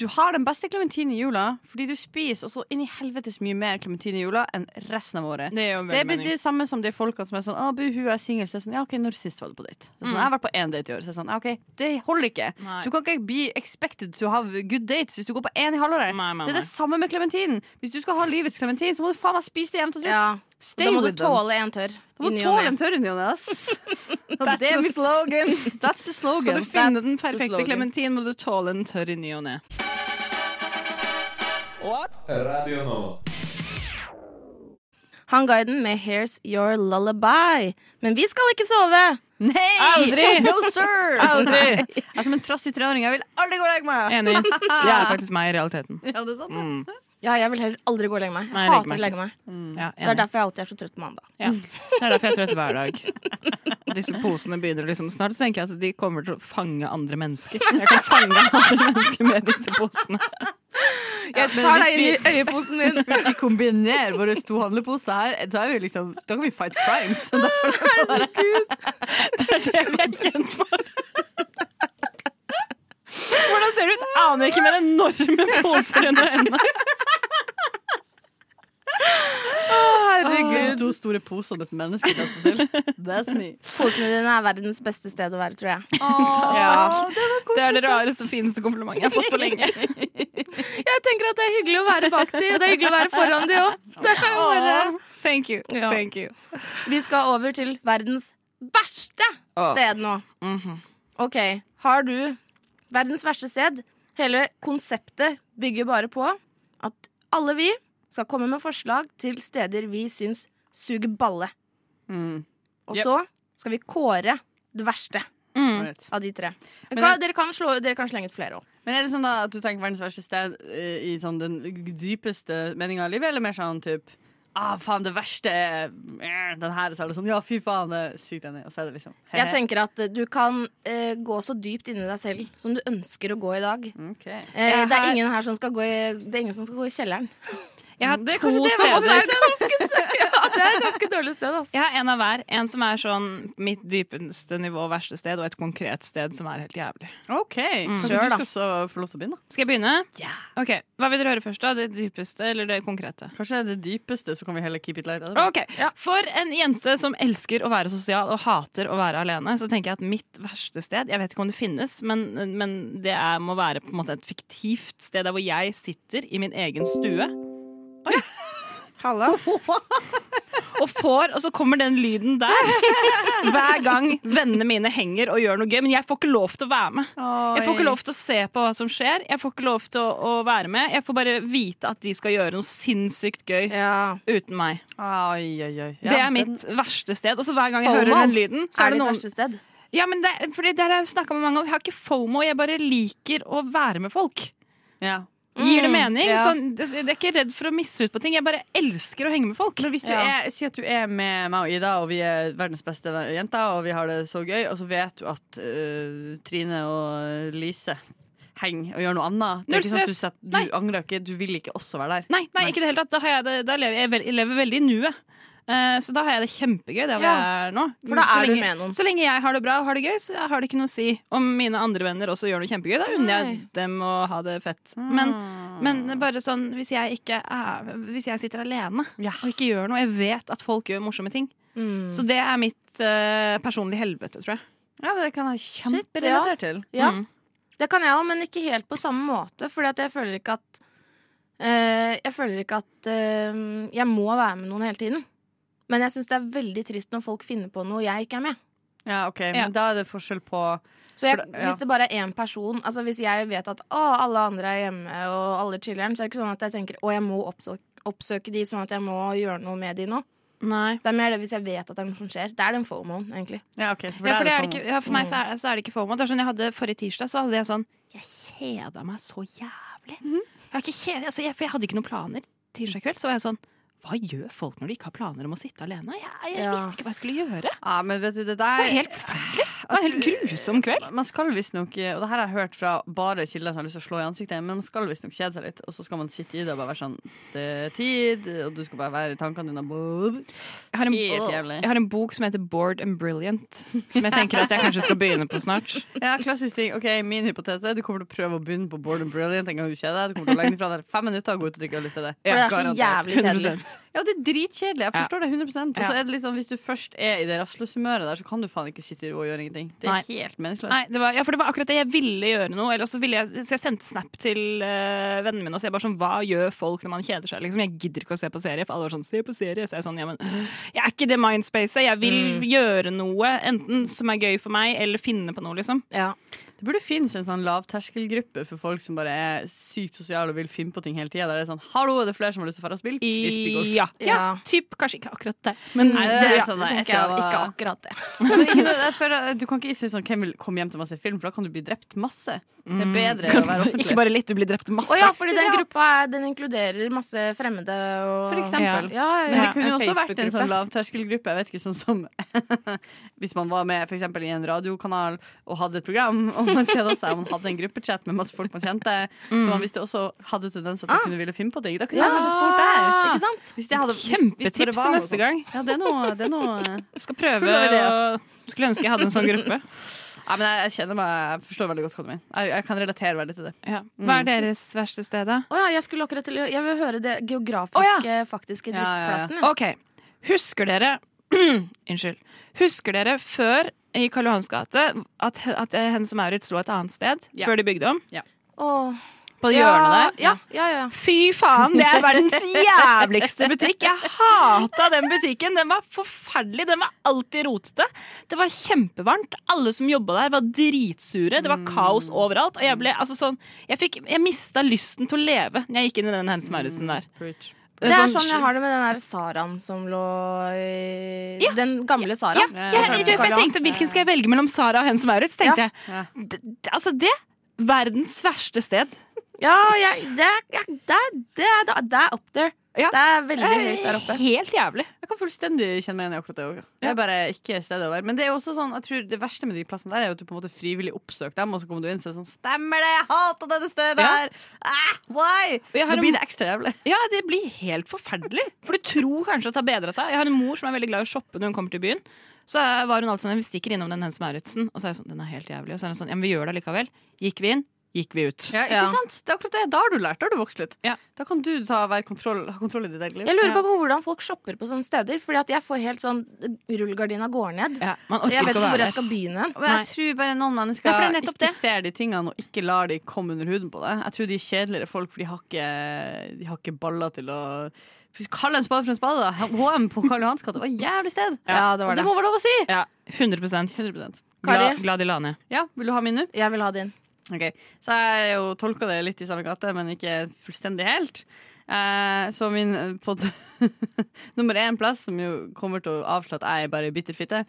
Du har den beste klementinen i jula fordi du spiser også inn i helvetes mye mer klementin i jula enn resten av året.
Det er jo
Det
veldig
er
mening.
det samme som de folkene som er sånn 'Å, buhu, jeg er singel.' Så er det sånn, ja, OK, når sist var du på date? Så er det sånn, jeg har vært på én date i år. Så er det sånn, «Ja, OK, det holder ikke.
Mm. Nei.
Du kan ikke bli expected to have good dates hvis du går på én i halvåret.
Nei, nei,
Det er det
nei.
samme med klementinen. Hvis du skal ha livets klementin, så må du faen meg spise det jevnt og trutt.
Ja.
Stay
Da må du
with them.
tåle en tørr.
Du må
i ny og
tåle
ne.
en tørr union, ass. That's
the
slogan. That's the slogan.
Skal du finne
That's
den
the
perfekte
slogan.
klementin, må du tåle en tørr i ny og ne.
Radio Nova.
Han guiden med 'Here's Your Lullaby'. Men vi skal ikke sove.
Nei!
Aldri!
No, sir!
Aldri!
Jeg er som en trassig treåring. Jeg vil aldri gå og legge meg.
Enig. Det er faktisk meg i realiteten.
Ja, det er sant.
Mm.
Ja, jeg vil heller aldri gå og legge meg. Jeg
Nei, jeg
hater
legger
å legge meg.
Ja,
Det er
enig.
derfor jeg alltid er så trøtt på mandag.
Ja. Det er derfor jeg er trøtt hver dag. Og disse posene begynner liksom snart, så tenker jeg at de kommer til å fange andre mennesker. Jeg kan fange andre mennesker med disse posene.
Jeg
tar deg inn
i øyeposen din. Hvis vi kombinerer våre to handleposer her, da, er vi liksom, da kan vi fight crimes. Da får det bare-
Det er vi er kjent for. Hvordan ser det ut? Aner ikke med enorme poser under hendene.
Herregud. To store poser og et menneske kaster til. That's me.
Posene dine er verdens beste sted å være, tror jeg.
Ja. Det er det rareste og fineste komplimentet jeg har fått på lenge.
Jeg tenker at det er hyggelig å være bak de, og det er hyggelig å være foran de òg.
Åh, Thank you.
Ja.
Thank you.
Vi skal over til verdens verste
Åh.
sted nå.
Mhm.
OK, har du verdens verste sted? Hele konseptet bygger bare på at alle vi skal komme med forslag til steder vi syns suger balle. Mm. Og
Yep.
så skal vi kåre det verste
Alright.
av de tre.
Men
Hva-
jeg-
dere, kan slå, dere kan slenge ut flere òg.
Men er det sånn da at du tenker verdens verste sted eh, i sånn den dypeste meninga av livet, eller mer sånn typ Ah, faen, det verste er eh, den her. Så er det sånn, ja, fy faen, det er sykt enig. Og så er det liksom
Jeg tenker at eh, du kan eh, gå så dypt inni deg selv som du ønsker å gå i dag.
Ok.
Eh,
Jeg
det er
har-
ingen her som skal gå i, det er ingen som skal gå i kjelleren.
Jeg har
Mm, Det er
to
kanskje det man
steder.
Det er et ganske dårlig sted, altså.
Jeg har en av hver. En som er sånn mitt dypeste nivå, verste sted, og et konkret sted som er helt jævlig.
OK. Kanskje
Sure, da.
du skal så få lov til å begynne?
Skal jeg begynne? Ok, Hva vil dere høre først? da? Det dypeste eller det konkrete?
Kanskje det dypeste, så kan vi heller keep it light. etterpå.
Ok, For en jente som elsker å være sosial og hater å være alene, så tenker jeg at mitt verste sted Jeg vet ikke om det finnes, men, men det er, må være på en måte et fiktivt sted der hvor jeg sitter i min egen stue. Oi. Og får, og så kommer den lyden der hver gang vennene mine henger og gjør noe gøy. Men jeg får ikke lov til å være med. Jeg får ikke lov til å se på hva som skjer. Jeg får ikke lov til å, å være med. Jeg får bare vite at de skal gjøre noe sinnssykt gøy
Ja.
uten meg.
Oi, oi, oi. Ja,
Det er
den-
mitt verste sted. Og så hver gang jeg
FOMO.
hører den lyden, så
Er det
er det
ditt
noen
verste sted?
Ja, men det, fordi det har jeg snakka med mange om. Jeg har ikke fomo, jeg bare liker å være med folk.
Ja.
Gir det mening?
ja.
Sånn, det- jeg er ikke redd for å misse ut på ting. Jeg bare elsker å henge med folk.
Men hvis du
Ja.
er, si at du er med meg og Ida, og vi er verdens beste ve- jenter, og vi har det så gøy, og så vet du at øh, Trine og Lise henger og gjør noe annet. Det
Null
er ikke sånn at du,
stress.
setter,
Nei.
du angrer ikke, du vil ikke også være der.
Nei, nei, ikke i det hele tatt. Da, har jeg det, da lever jeg, vel- jeg lever veldig i nuet. Eh, så da har jeg det kjempegøy der hvor
Ja.
jeg er nå.
For da
så
er du
lenge,
med noen.
Så lenge jeg har det bra og har det gøy, så har det ikke noe å si om mine andre venner også gjør noe kjempegøy. Da unner jeg
Nei. Mm.
dem å ha det fett.
Mm.
Men, men bare sånn hvis jeg, ikke er, hvis jeg sitter alene og ikke gjør noe Jeg vet at folk gjør morsomme ting.
Mm.
Så det er mitt eh, personlige helvete, tror jeg.
Ja, men Det kan jeg
ja.
kjemperelatert til.
Ja,
Mm.
det kan jeg òg, men ikke helt på samme måte. Fordi at jeg føler ikke at eh, Jeg føler ikke at eh, jeg må være med noen hele tiden. Men jeg syns det er veldig trist når folk finner på noe jeg ikke er med.
Ja, ok,
Ja.
Men da er det forskjell på
Så jeg,
For det- ja.
Hvis det bare er én person Altså Hvis jeg vet at å, alle andre er hjemme og alle chiller'n, så er det ikke sånn at jeg tenker å, jeg må oppsøke, oppsøke de, sånn at jeg må gjøre noe med de nå.
Nei.
Det er mer det hvis jeg vet at det er noe som skjer. Det er den fomoen, egentlig.
Ja, ok, så for,
Ja, for,
det
det er
FOMO.
det
Mm.
ikke, ja, for meg er- så er det ikke FOMO. Det er sånn jeg hadde Forrige tirsdag så hadde jeg sånn Jeg kjeda meg så jævlig.
Mhm.
Jeg, har ikke kjed, altså, jeg, for jeg hadde ikke noen planer tirsdag kveld. Så var jeg sånn Hva gjør folk når de ikke har planer om å sitte alene? Jeg, jeg
Ja.
visste ikke hva jeg skulle gjøre. Det
Ja, men vet du, det
var
der
helt forferdelig. Det var en helt grusom kveld.
Man skal visstnok, eh, og det her har jeg hørt fra bare kilder som har lyst til å slå i ansiktet, men man skal visstnok kjede seg litt, og så skal man sitte i det og bare være sånn Det er tid, og du skal bare være i tankene dine og
Jeg har, en,
Helt jævlig.
jeg har en bok som heter Bored and Brilliant, som jeg tenker at jeg kanskje skal begynne på snart.
Ja, klassisk ting. Ok, Min hypotese du kommer til å prøve å begynne på Bored and Brilliant en gang du kjeder deg. Du kommer til å legge den fra deg fem minutter og gå ut og drikke øl i stedet.
For det er så
Garantert.
jævlig kjedelig.
100%.
Ja, det er dritkjedelig. Jeg forstår det 100 Og
Ja.
så er det litt sånn, hvis du først er i det rastløshumøret der, så kan du faen ikke sitte i ro og gjøre ingenting. Det er
Nei.
helt meningsløst.
Nei, det var, ja, for det var akkurat det. Jeg ville gjøre noe. Eller også ville jeg, så jeg sendte snap til eh, vennene mine og så jeg bare sånn Hva gjør folk når man kjeder seg? Liksom, jeg gidder ikke å se på serie. For alle var sånn Se på serie. Så jeg er sånn Ja, men jeg er ikke i det mindspacet. Jeg vil gjøre noe. Enten som er gøy for meg, eller finne på noe, liksom.
Ja.
Det burde finnes en sånn lavterskelgruppe for folk som bare er sykt sosiale og vil finne på ting hele tida. Der det er sånn 'hallo, er det flere som har lyst til å dra og spille?' frisbee golf?»
Ja. ja.
Ja.
Typ. Kanskje ikke akkurat det. Men
Nei,
Det,
det er
sånn,
sånn, nei,
tenker
etter
jeg
å-
ikke akkurat det.
Men det er ikke noe- det er for- Du kan ikke si sånn 'hvem vil komme hjem til meg og se film', for da kan du bli drept masse. Det er bedre å være offentlig.
Mm. ikke bare litt. Du blir drept masse.
Å ja, fordi den gruppa er- den inkluderer masse fremmede og
For eksempel.
Ja, ja,
Men
ja.
det kunne jo
En
også vært en sånn
Facebook-gruppe.
lavterskelgruppe. Jeg vet ikke, sånn som Hvis man var med for eksempel, i en radiokanal og hadde et program, og man kjeda seg, og man hadde en gruppechat med masse folk man kjente,
Mm.
som man visste også hadde tendens
Ah.
at de kunne ville finne på ting, da kunne jeg kanskje spurt der.
Ikke sant?
Hvis jeg hadde, hvis, hvis det
Kjempetips
var
til
noe
neste
sånt.
gang.
Ja, det er noe, det er noe.
Jeg skal prøve
Full av
å
ideer.
Skulle ønske jeg hadde en sånn gruppe.
Nei, men jeg, jeg kjenner meg Jeg forstår veldig godt hva du mener. Jeg, jeg kan relatere veldig til det.
Ja. Hva er deres verste sted, da?
Å ja, jeg skulle akkurat til å Jeg vil høre det geografiske,
Å
faktiske
Ja, ja, ja.
drittplassen. Ja,
Ok, husker dere Unnskyld Husker dere før i Karl Johans gate At, at hen som er ute slo et annet sted
Ja.
Før de bygde om
Åh,
På
ja.
hjørnet der
Ja, ja, ja.
Fy faen, det er verdens jævligste butikk Jeg hatet den butikken Den var forferdelig, den var alltid rotete Det var kjempevarmt Alle som jobbet der var dritsure Det
Mm.
var kaos overalt Og jeg, ble, altså, sånn, jeg, fikk, jeg mistet lysten til å leve Når jeg gikk inn i den hen som er ute der
Det er sånn jeg har det med den der Saraen som lå i- Den gamle Saraen.
Ja, jeg, jeg, for jeg tenkte hvilken skal jeg velge mellom Sara og Hen som Maurits? Tenkte
Ja.
jeg D- d- Altså det Verdens verste sted.
Ja, jeg, det, er- ja, det, er- det, er- det, er- det er up there.
Ja.
Det er veldig høyt der oppe.
Eh, Helt jævlig.
Jeg kan fullstendig kjenne meg igjen i akkurat det òg. Det er bare ikke stedet å være. Men det er jo også sånn, jeg tror det verste med de plassene der er jo at du på en måte frivillig oppsøker dem, og så kommer du inn og sier sånn Stemmer det! Jeg hater dette stedet
Ja.
her! Ah, why?
jeg har
Da
en-
blir det ekstra jævlig.
Ja, det blir helt forferdelig. For du tror kanskje at det har bedra seg. Jeg har en mor som er veldig glad i å shoppe når hun kommer til byen. Så eh, var hun alltid sånn Vi stikker innom den Hen som Mauritzen. Og så er jeg sånn Den er helt jævlig. Og så er hun sånn Ja, men vi gjør det likevel. Gikk vi inn, gikk vi ut.
Ja, ikke sant? Det er akkurat det. Da har du lært. Da har du vokst litt.
Ja.
Da kan du ta, være kontroll, ha kontroll i ditt eget liv.
Jeg lurer bare på hvordan folk shopper på sånne steder. Fordi at jeg får helt sånn Rullegardina går ned.
Ja, man orker
Jeg vet
ikke
ikke
å
hvor
være
jeg skal begynne.
Men jeg tror bare noen mennesker
Ja, for det er nettopp
ikke
det.
ser de tingene og ikke lar de komme under huden på det. Jeg tror de er kjedeligere folk, for de har ikke, de har ikke baller til å Kall en spade for en spade, da! HM på Karl Johans gate var et jævlig sted.
Ja, det var det.
må være lov å si!
Ja, 100
100
Glad,
Kari?
glad de la ned.
Ja, Vil du ha min nå?
Jeg vil ha din.
Ok, Så jeg har jo tolka det litt i samme gate, men ikke fullstendig helt. Eh, så min eh, på nummer én plass, som jo kommer til å avslå at jeg er bare ei bitter fitte,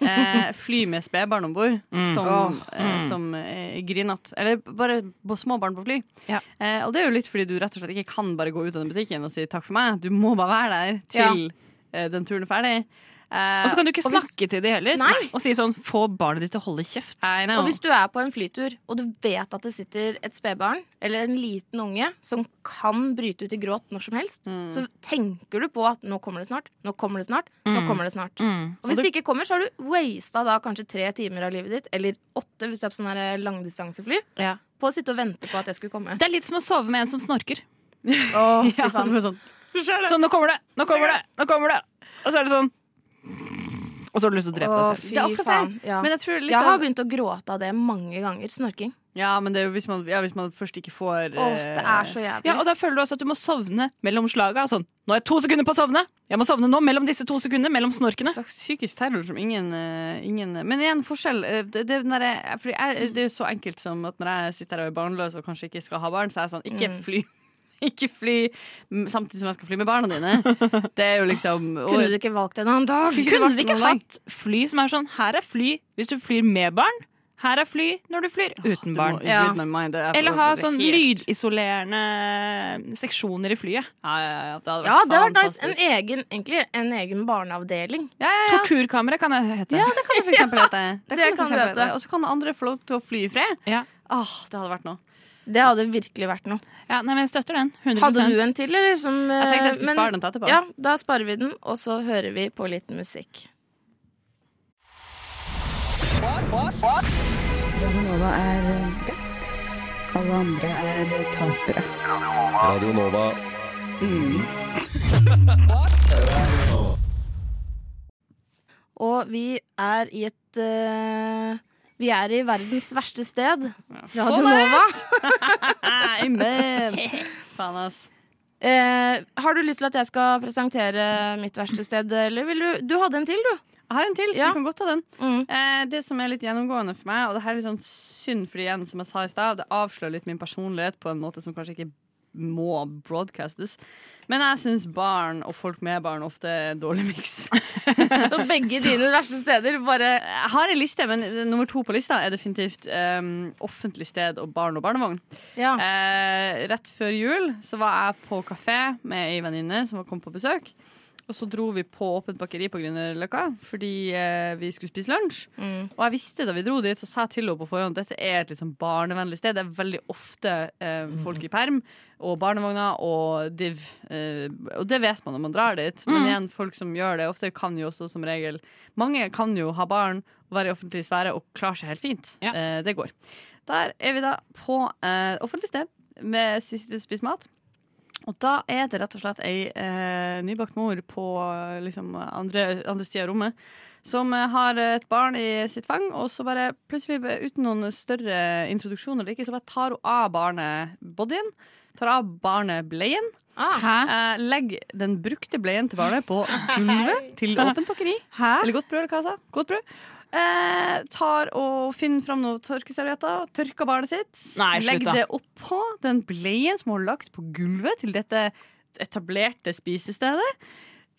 eh, fly med spedbarn om bord
Mm.
som, eh, som eh, grinete. Eller bare b- små barn på fly.
Ja.
Eh, og det er jo litt fordi du rett og slett ikke kan bare gå ut av den butikken og si takk for meg. Du må bare være der til eh, den turen er ferdig. Eh,
Og så kan du ikke
og hvis-
snakke til de heller.
Nei.
Og si sånn Få barnet ditt til å holde kjeft.
I know.
Og hvis du er på en flytur, og du vet at det sitter et spedbarn eller en liten unge som kan bryte ut i gråt når som helst, så tenker du på at nå kommer det snart, nå kommer det snart, nå kommer det snart.
Mm.
Og hvis det ikke kommer, så har du wasta da kanskje tre timer av livet ditt, eller åtte hvis du er på sånn her langdistansefly,
Ja.
på å sitte og vente på at jeg skulle komme.
Det er litt som å sove med en som snorker.
Å, fy
ja,
faen.
det var sånn.
Sånn, nå kommer det, nå kommer det, nå kommer det. Og så er det sånn Og så har du lyst til å drepe
Å,
deg selv.
fy
Det er akkurat
faen.
det.
Ja.
Men jeg tror litt
Jeg har
av
begynt å gråte av det mange ganger. Snorking.
Ja, men det er jo hvis man, ja, hvis man først ikke
Åh, det
får eh,
er så jævlig.
Ja, og da føler du også at du må sovne mellom slaga. Sånn, nå er jeg to sekunder på å sovne! Jeg må sovne nå, mellom disse to sekundene, mellom snorkene.
slags psykisk terror som ingen, eh, ingen Men igjen, forskjell. eh, Det, det, er når jeg, eh, fordi jeg, det er jo så enkelt som at når jeg sitter her og er barnløs og kanskje ikke skal ha barn, så er jeg sånn Ikke fly ikke fly m- samtidig som jeg skal fly med barna dine. Det er jo liksom og,
Kunne du ikke valgt en annen dag?
Kunne vi ikke hatt fly som er sånn Her er fly hvis du flyr med barn. Her er fly når du flyr uten barn.
Ja. Read my mind, det er-
Eller ha
det er
sånn
helt-
lydisolerende seksjoner i flyet.
Ja, ja, ja, det hadde vært
Ja, det var nice.
fantastisk.
En egen, egentlig, en egen barneavdeling.
ja, ja, ja.
Torturkamera kan jeg hete.
det kan det for eksempel hete. Det kan
Det
det for
kan
eksempel
det hete.
hete. Og så kan andre få lov til å fly i fred.
Ja.
Åh, det hadde vært noe.
Det hadde virkelig vært noe.
Ja, nei, men jeg støtter den. 100
Hadde du en til, eller? Som, eh,
Jeg tenkte jeg skulle
men-
spare den til etterpå.
Ja, da sparer vi den, og så hører vi på litt musikk.
Radio Nova.
Og vi er i et eh, Vi er i verdens verste sted. Radio Nova.
Amen! Faen, ass.
Eh, har du lyst til at jeg skal presentere mitt verste sted, eller vil du Du hadde en til, du.
Jeg har en til.
Ja.
Du kan godt ta den.
Mm.
Eh, det som er litt gjennomgående for meg, og det her er litt sånn synd fordi igjen, som jeg sa i stad, det avslører litt min personlighet på en måte som kanskje ikke må broadcastes. Men jeg syns barn og folk med barn ofte er en dårlig miks.
Så begge dine verste steder bare
Jeg har en liste, men nummer to på lista er definitivt eh, offentlig sted og barn og barnevogn.
Ja.
Eh, rett før jul så var jeg på kafé med ei venninne som kom på besøk. Og så dro vi på åpent bakeri på Grünerløkka fordi eh, vi skulle spise lunsj. Og jeg visste da vi dro dit, så sa jeg til henne på forhånd dette er et litt sånn barnevennlig sted. Det er veldig ofte eh, folk i perm og barnevogner og div. Eh, og det vet man når man drar dit. Men igjen, folk som gjør det, ofte kan jo også som regel Mange kan jo ha barn, være i offentlig sfære og klare seg helt fint.
Ja.
Eh, det går. Der er vi da på eh, offentlig sted med siste spist mat. Og da er det rett og slett ei eh, nybakt mor på eh, liksom, andre, andre sida av rommet som eh, har et barn i sitt fang, og så bare plutselig, eh, uten noen større introduksjon eller ikke, så bare tar hun av barnet bodyen, tar av barnet bleien,
Hæ?
eh, legger den brukte bleien til barnet på gulvet til åpent bakeri.
Hæ?
Eller godt brød, eller hva jeg sa. Godt brød. Eh, tar og finner fram noen tørkeservietter, tørker barnet sitt.
Nei, slutt da.
legger det oppå den bleien som hun har lagt på gulvet til dette etablerte spisestedet.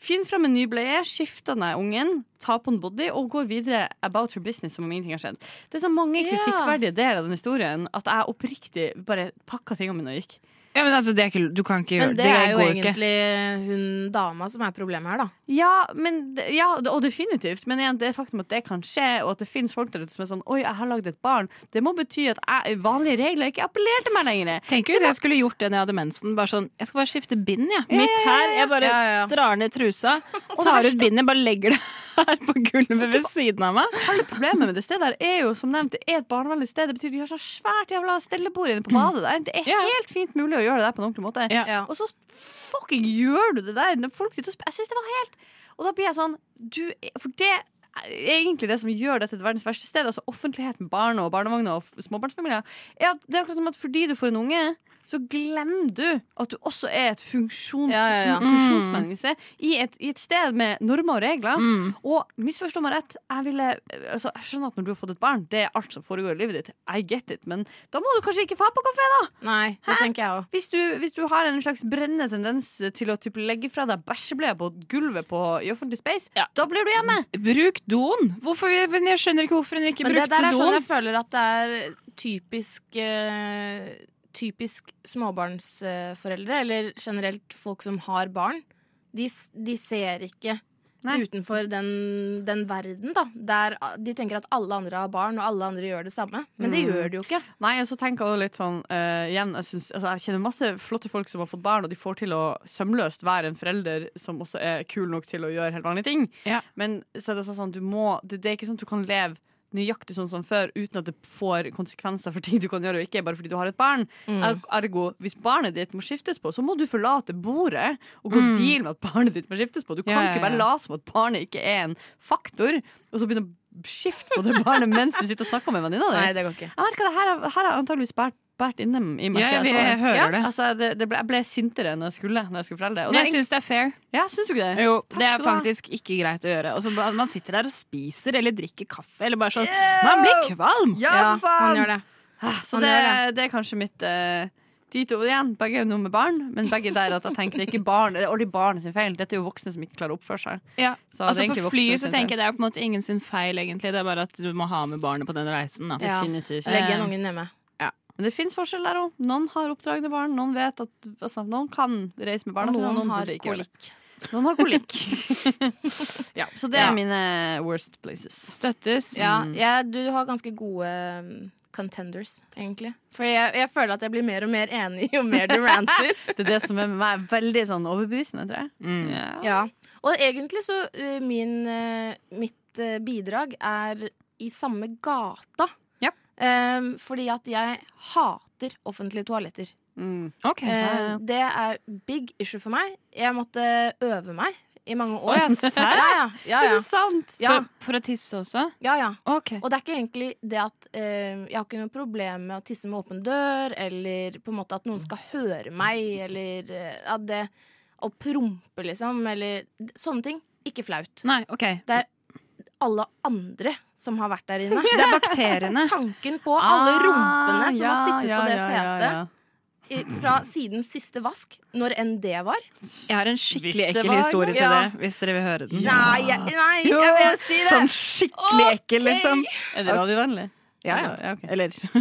Finner fram en ny bleie, skifter den av ungen, tar på en body og går videre about your business som om ingenting har skjedd. Det er så mange kritikkverdige deler av den historien at jeg oppriktig bare pakka tingene mine og gikk.
Ja, men altså, det er ikke, du kan ikke gjøre
Men det er jo
går ikke.
egentlig hun dama som er problemet her, da.
Ja, men, det- ja, det- og definitivt. Men igjen, det faktum at det kan skje, og at det finnes folk der ute som er sånn Oi, jeg har lagd et barn. Det må bety at jeg, vanlige regler ikke appellerer til meg lenger.
Tenk hvis jeg skulle gjort det når jeg hadde mensen. Bare sånn, jeg skal bare skifte bind, jeg. Mitt her. Jeg bare
Ja, ja.
drar ned trusa, tar ut bindet, bare legger det her på gulvet ved siden av meg.
Hele problemet med det stedet her er jo, som nevnt, det er et barnevennlig sted. Det betyr de har så svært jævla stellebord inne på badet der. Det er
Ja.
helt fint mulig å gjøre det der på en ordentlig måte.
Ja.
Og så fucking gjør du det der når folk sitter og spør. Jeg synes det var helt Og da blir jeg sånn du, For det er egentlig det som gjør dette til verdens verste sted. Altså offentligheten, barn og barnevogner og f- småbarnsfamilier. Er at det er akkurat som at fordi du får en unge så glemmer du at du også er et funksjon,
Ja, ja, ja.
funksjonsmenneske i et, i et sted med normer og regler.
Mm.
Mm.
Og misforstå meg rett, jeg, ville, altså, jeg skjønner at når du har fått et barn, det er alt som foregår i livet ditt. I get it, men da må du kanskje ikke dra på kafé, da!
Nei, det tenker jeg òg.
Hvis du, hvis du har en slags brennende tendens til å typ legge fra deg bæsjebleia på gulvet på, i offentlig space,
Ja.
da blir du hjemme!
Bruk doen! Hvorfor, men jeg skjønner ikke hvorfor hun ikke
Men det
brukte
der er sånn
doen.
jeg føler at det er typisk eh, Typisk småbarnsforeldre, eller generelt folk som har barn. De, s- de ser ikke
Nei.
utenfor den, den verden, da. Der a- de tenker at alle andre har barn, og alle andre gjør det samme. Men det gjør de jo ikke.
Nei, og så tenker jeg også litt sånn eh, igjen, jeg, synes, altså, jeg kjenner masse flotte folk som har fått barn, og de får til å sømløst være en forelder som også er kul nok til å gjøre helt vanlige ting.
Ja.
Men så er det, sånn, du må, det, det er ikke sånn at du kan leve nøyaktig sånn som før uten at det får konsekvenser for ting du kan gjøre og ikke, bare fordi du har et barn.
Mm.
Er- Ergo, hvis barnet ditt må skiftes på, så må du forlate bordet og gå deal med at barnet ditt må skiftes på. Du
Mm.
kan
Ja, ja,
ikke bare
ja.
late som at barnet ikke er en faktor, og så begynne å skifte på det barnet mens du sitter og snakker med venninna di.
det går ikke.
Jeg merker det her, har- her har jeg antageligvis båret båret inne i meg.
Ja,
siden
jeg,
så
hører
Ja,
det.
altså, det, det ble, jeg ble sintere enn jeg skulle når jeg skulle fortelle det. Og
Men
det
jeg
er,
syns det er fair.
egentlig- ja, syns du ikke det?
Jo,
Takk
det
skal
er
du ha.
faktisk ikke greit å gjøre. Og så ba- man sitter der og spiser eller drikker kaffe eller bare sånn Man blir kvalm!
Ja,
Ja,
for faen!
han gjør det.
Ah, Så
han
det,
gjør
det er kanskje mitt eh, De to igjen, begge er jo noe med barn, men begge der at jeg tenker det er ikke barn, det er aldri barnet sin feil. Dette er jo voksne som ikke klarer å oppføre seg.
Ja.
Så det er
altså
egentlig
På
voksne
flyet så
sin
tenker jeg det er på en måte ingen sin feil, egentlig. Det er bare at du må ha med barnet på den reisen. Da.
Ja.
Definitivt. Eh,
Legg igjen ungen hjemme.
Men det fins forskjell der òg. Noen har oppdragne barn, noen vet at altså, Noen kan reise med barna
Og
sine, og
noen
noen
har
burde ikke gjøre det. Noen har kolikk. ja, så det er
Ja.
mine worst places.
Støttes.
Ja, jeg, du har ganske gode um, contenders, egentlig. For jeg, jeg føler at jeg blir mer og mer enig jo mer du ranter.
Det er det som er med meg veldig sånn overbevisende, tror jeg.
Mm.
Ja.
Ja. Og egentlig så uh, min, uh, mitt uh, bidrag er i samme gata.
Ja.
Um, fordi at jeg hater offentlige toaletter.
Mm.
Ok.
Eh, det er big issue for meg. Jeg måtte øve meg i mange år.
Å, ja, serr?
ja, ja, ja,
Er det sant?
ja,
For, for å tisse også?
ja, ja.
Ok.
Og det er ikke egentlig det at eh, jeg har ikke noe problem med å tisse med åpen dør, eller på en måte at noen skal høre meg, eller eh, at det å prompe, liksom, eller sånne ting. Ikke flaut.
Nei, ok.
Det er alle andre som har vært der inne.
Det er bakteriene. Ah,
Tanken på alle rumpene som har
Ah,
sittet
ja,
på det
ja, ja,
setet
ja.
i- fra siden siste vask, når enn det var.
Jeg har en skikkelig
Hvis det
ekkel
var-
historie til
Ja.
det, hvis dere vil høre den.
Nei, jeg, nei,
Jo,
jeg vil si det!
Sånn skikkelig ekkel, liksom.
Er det radiovennlig?
Ja, ja.
Altså, ja, ok.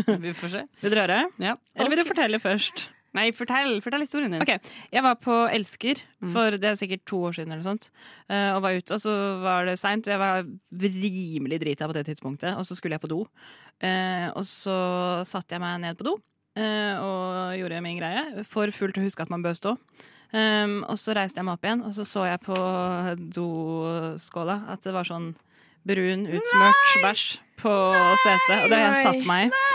Eller
Vi får se.
Vil dere høre?
Ja.
Eller vil dere fortelle først?
Nei, fortell, fortell historien din.
Ok, Jeg var på Elsker
Mm.
for det er sikkert to år siden, eller noe sånt. eh, og var ute, og så var det seint. Jeg var rimelig drita på det tidspunktet, og så skulle jeg på do. Eh, og så satte jeg meg ned på do eh, og gjorde min greie. For fullt å huske at man bør stå. Um, og så reiste jeg meg opp igjen, og så så jeg på doskåla at det var sånn brun, utsmørt bæsj på setet. Og det har jeg satt meg i.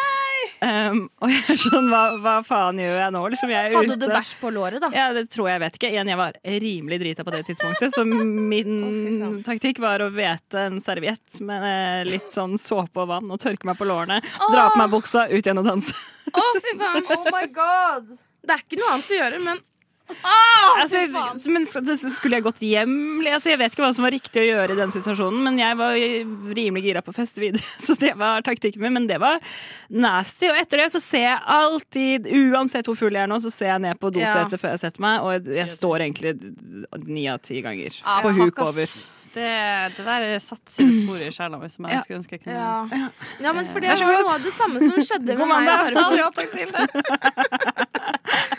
Um, og jeg er sånn, hva, hva faen gjør jeg nå? Liksom, jeg er
Hadde du
ute.
bæsj på låret, da?
Ja, det tror jeg, jeg vet ikke. Igjen, jeg var rimelig drita på det tidspunktet, så min
faen.
taktikk var å hvete en serviett med eh, litt sånn såpe og vann og tørke meg på lårene, dra på meg buksa, ut igjen og danse.
Å, fy faen!
Oh my god!
Det er ikke noe annet å gjøre, men
Altså, men s- det- skulle jeg gått hjem? Altså, jeg vet ikke hva som var riktig å gjøre i den situasjonen, men jeg var rimelig gira på å feste videre, så det var taktikken min. Men det var nasty. Og etter det så ser jeg alltid, uansett hvor full jeg er nå, så ser jeg ned på dosetet før jeg setter meg, og jeg, jeg står egentlig ni av ti ganger
Ah,
på
fuck,
huk
ass.
over.
Det, det der satte sine spor i sjela mi, som jeg
Ja.
skulle ønske jeg kunne
Ja, ja men for det var noe av det samme som skjedde med
God mandag.
meg. og Harald.
ja takk til det.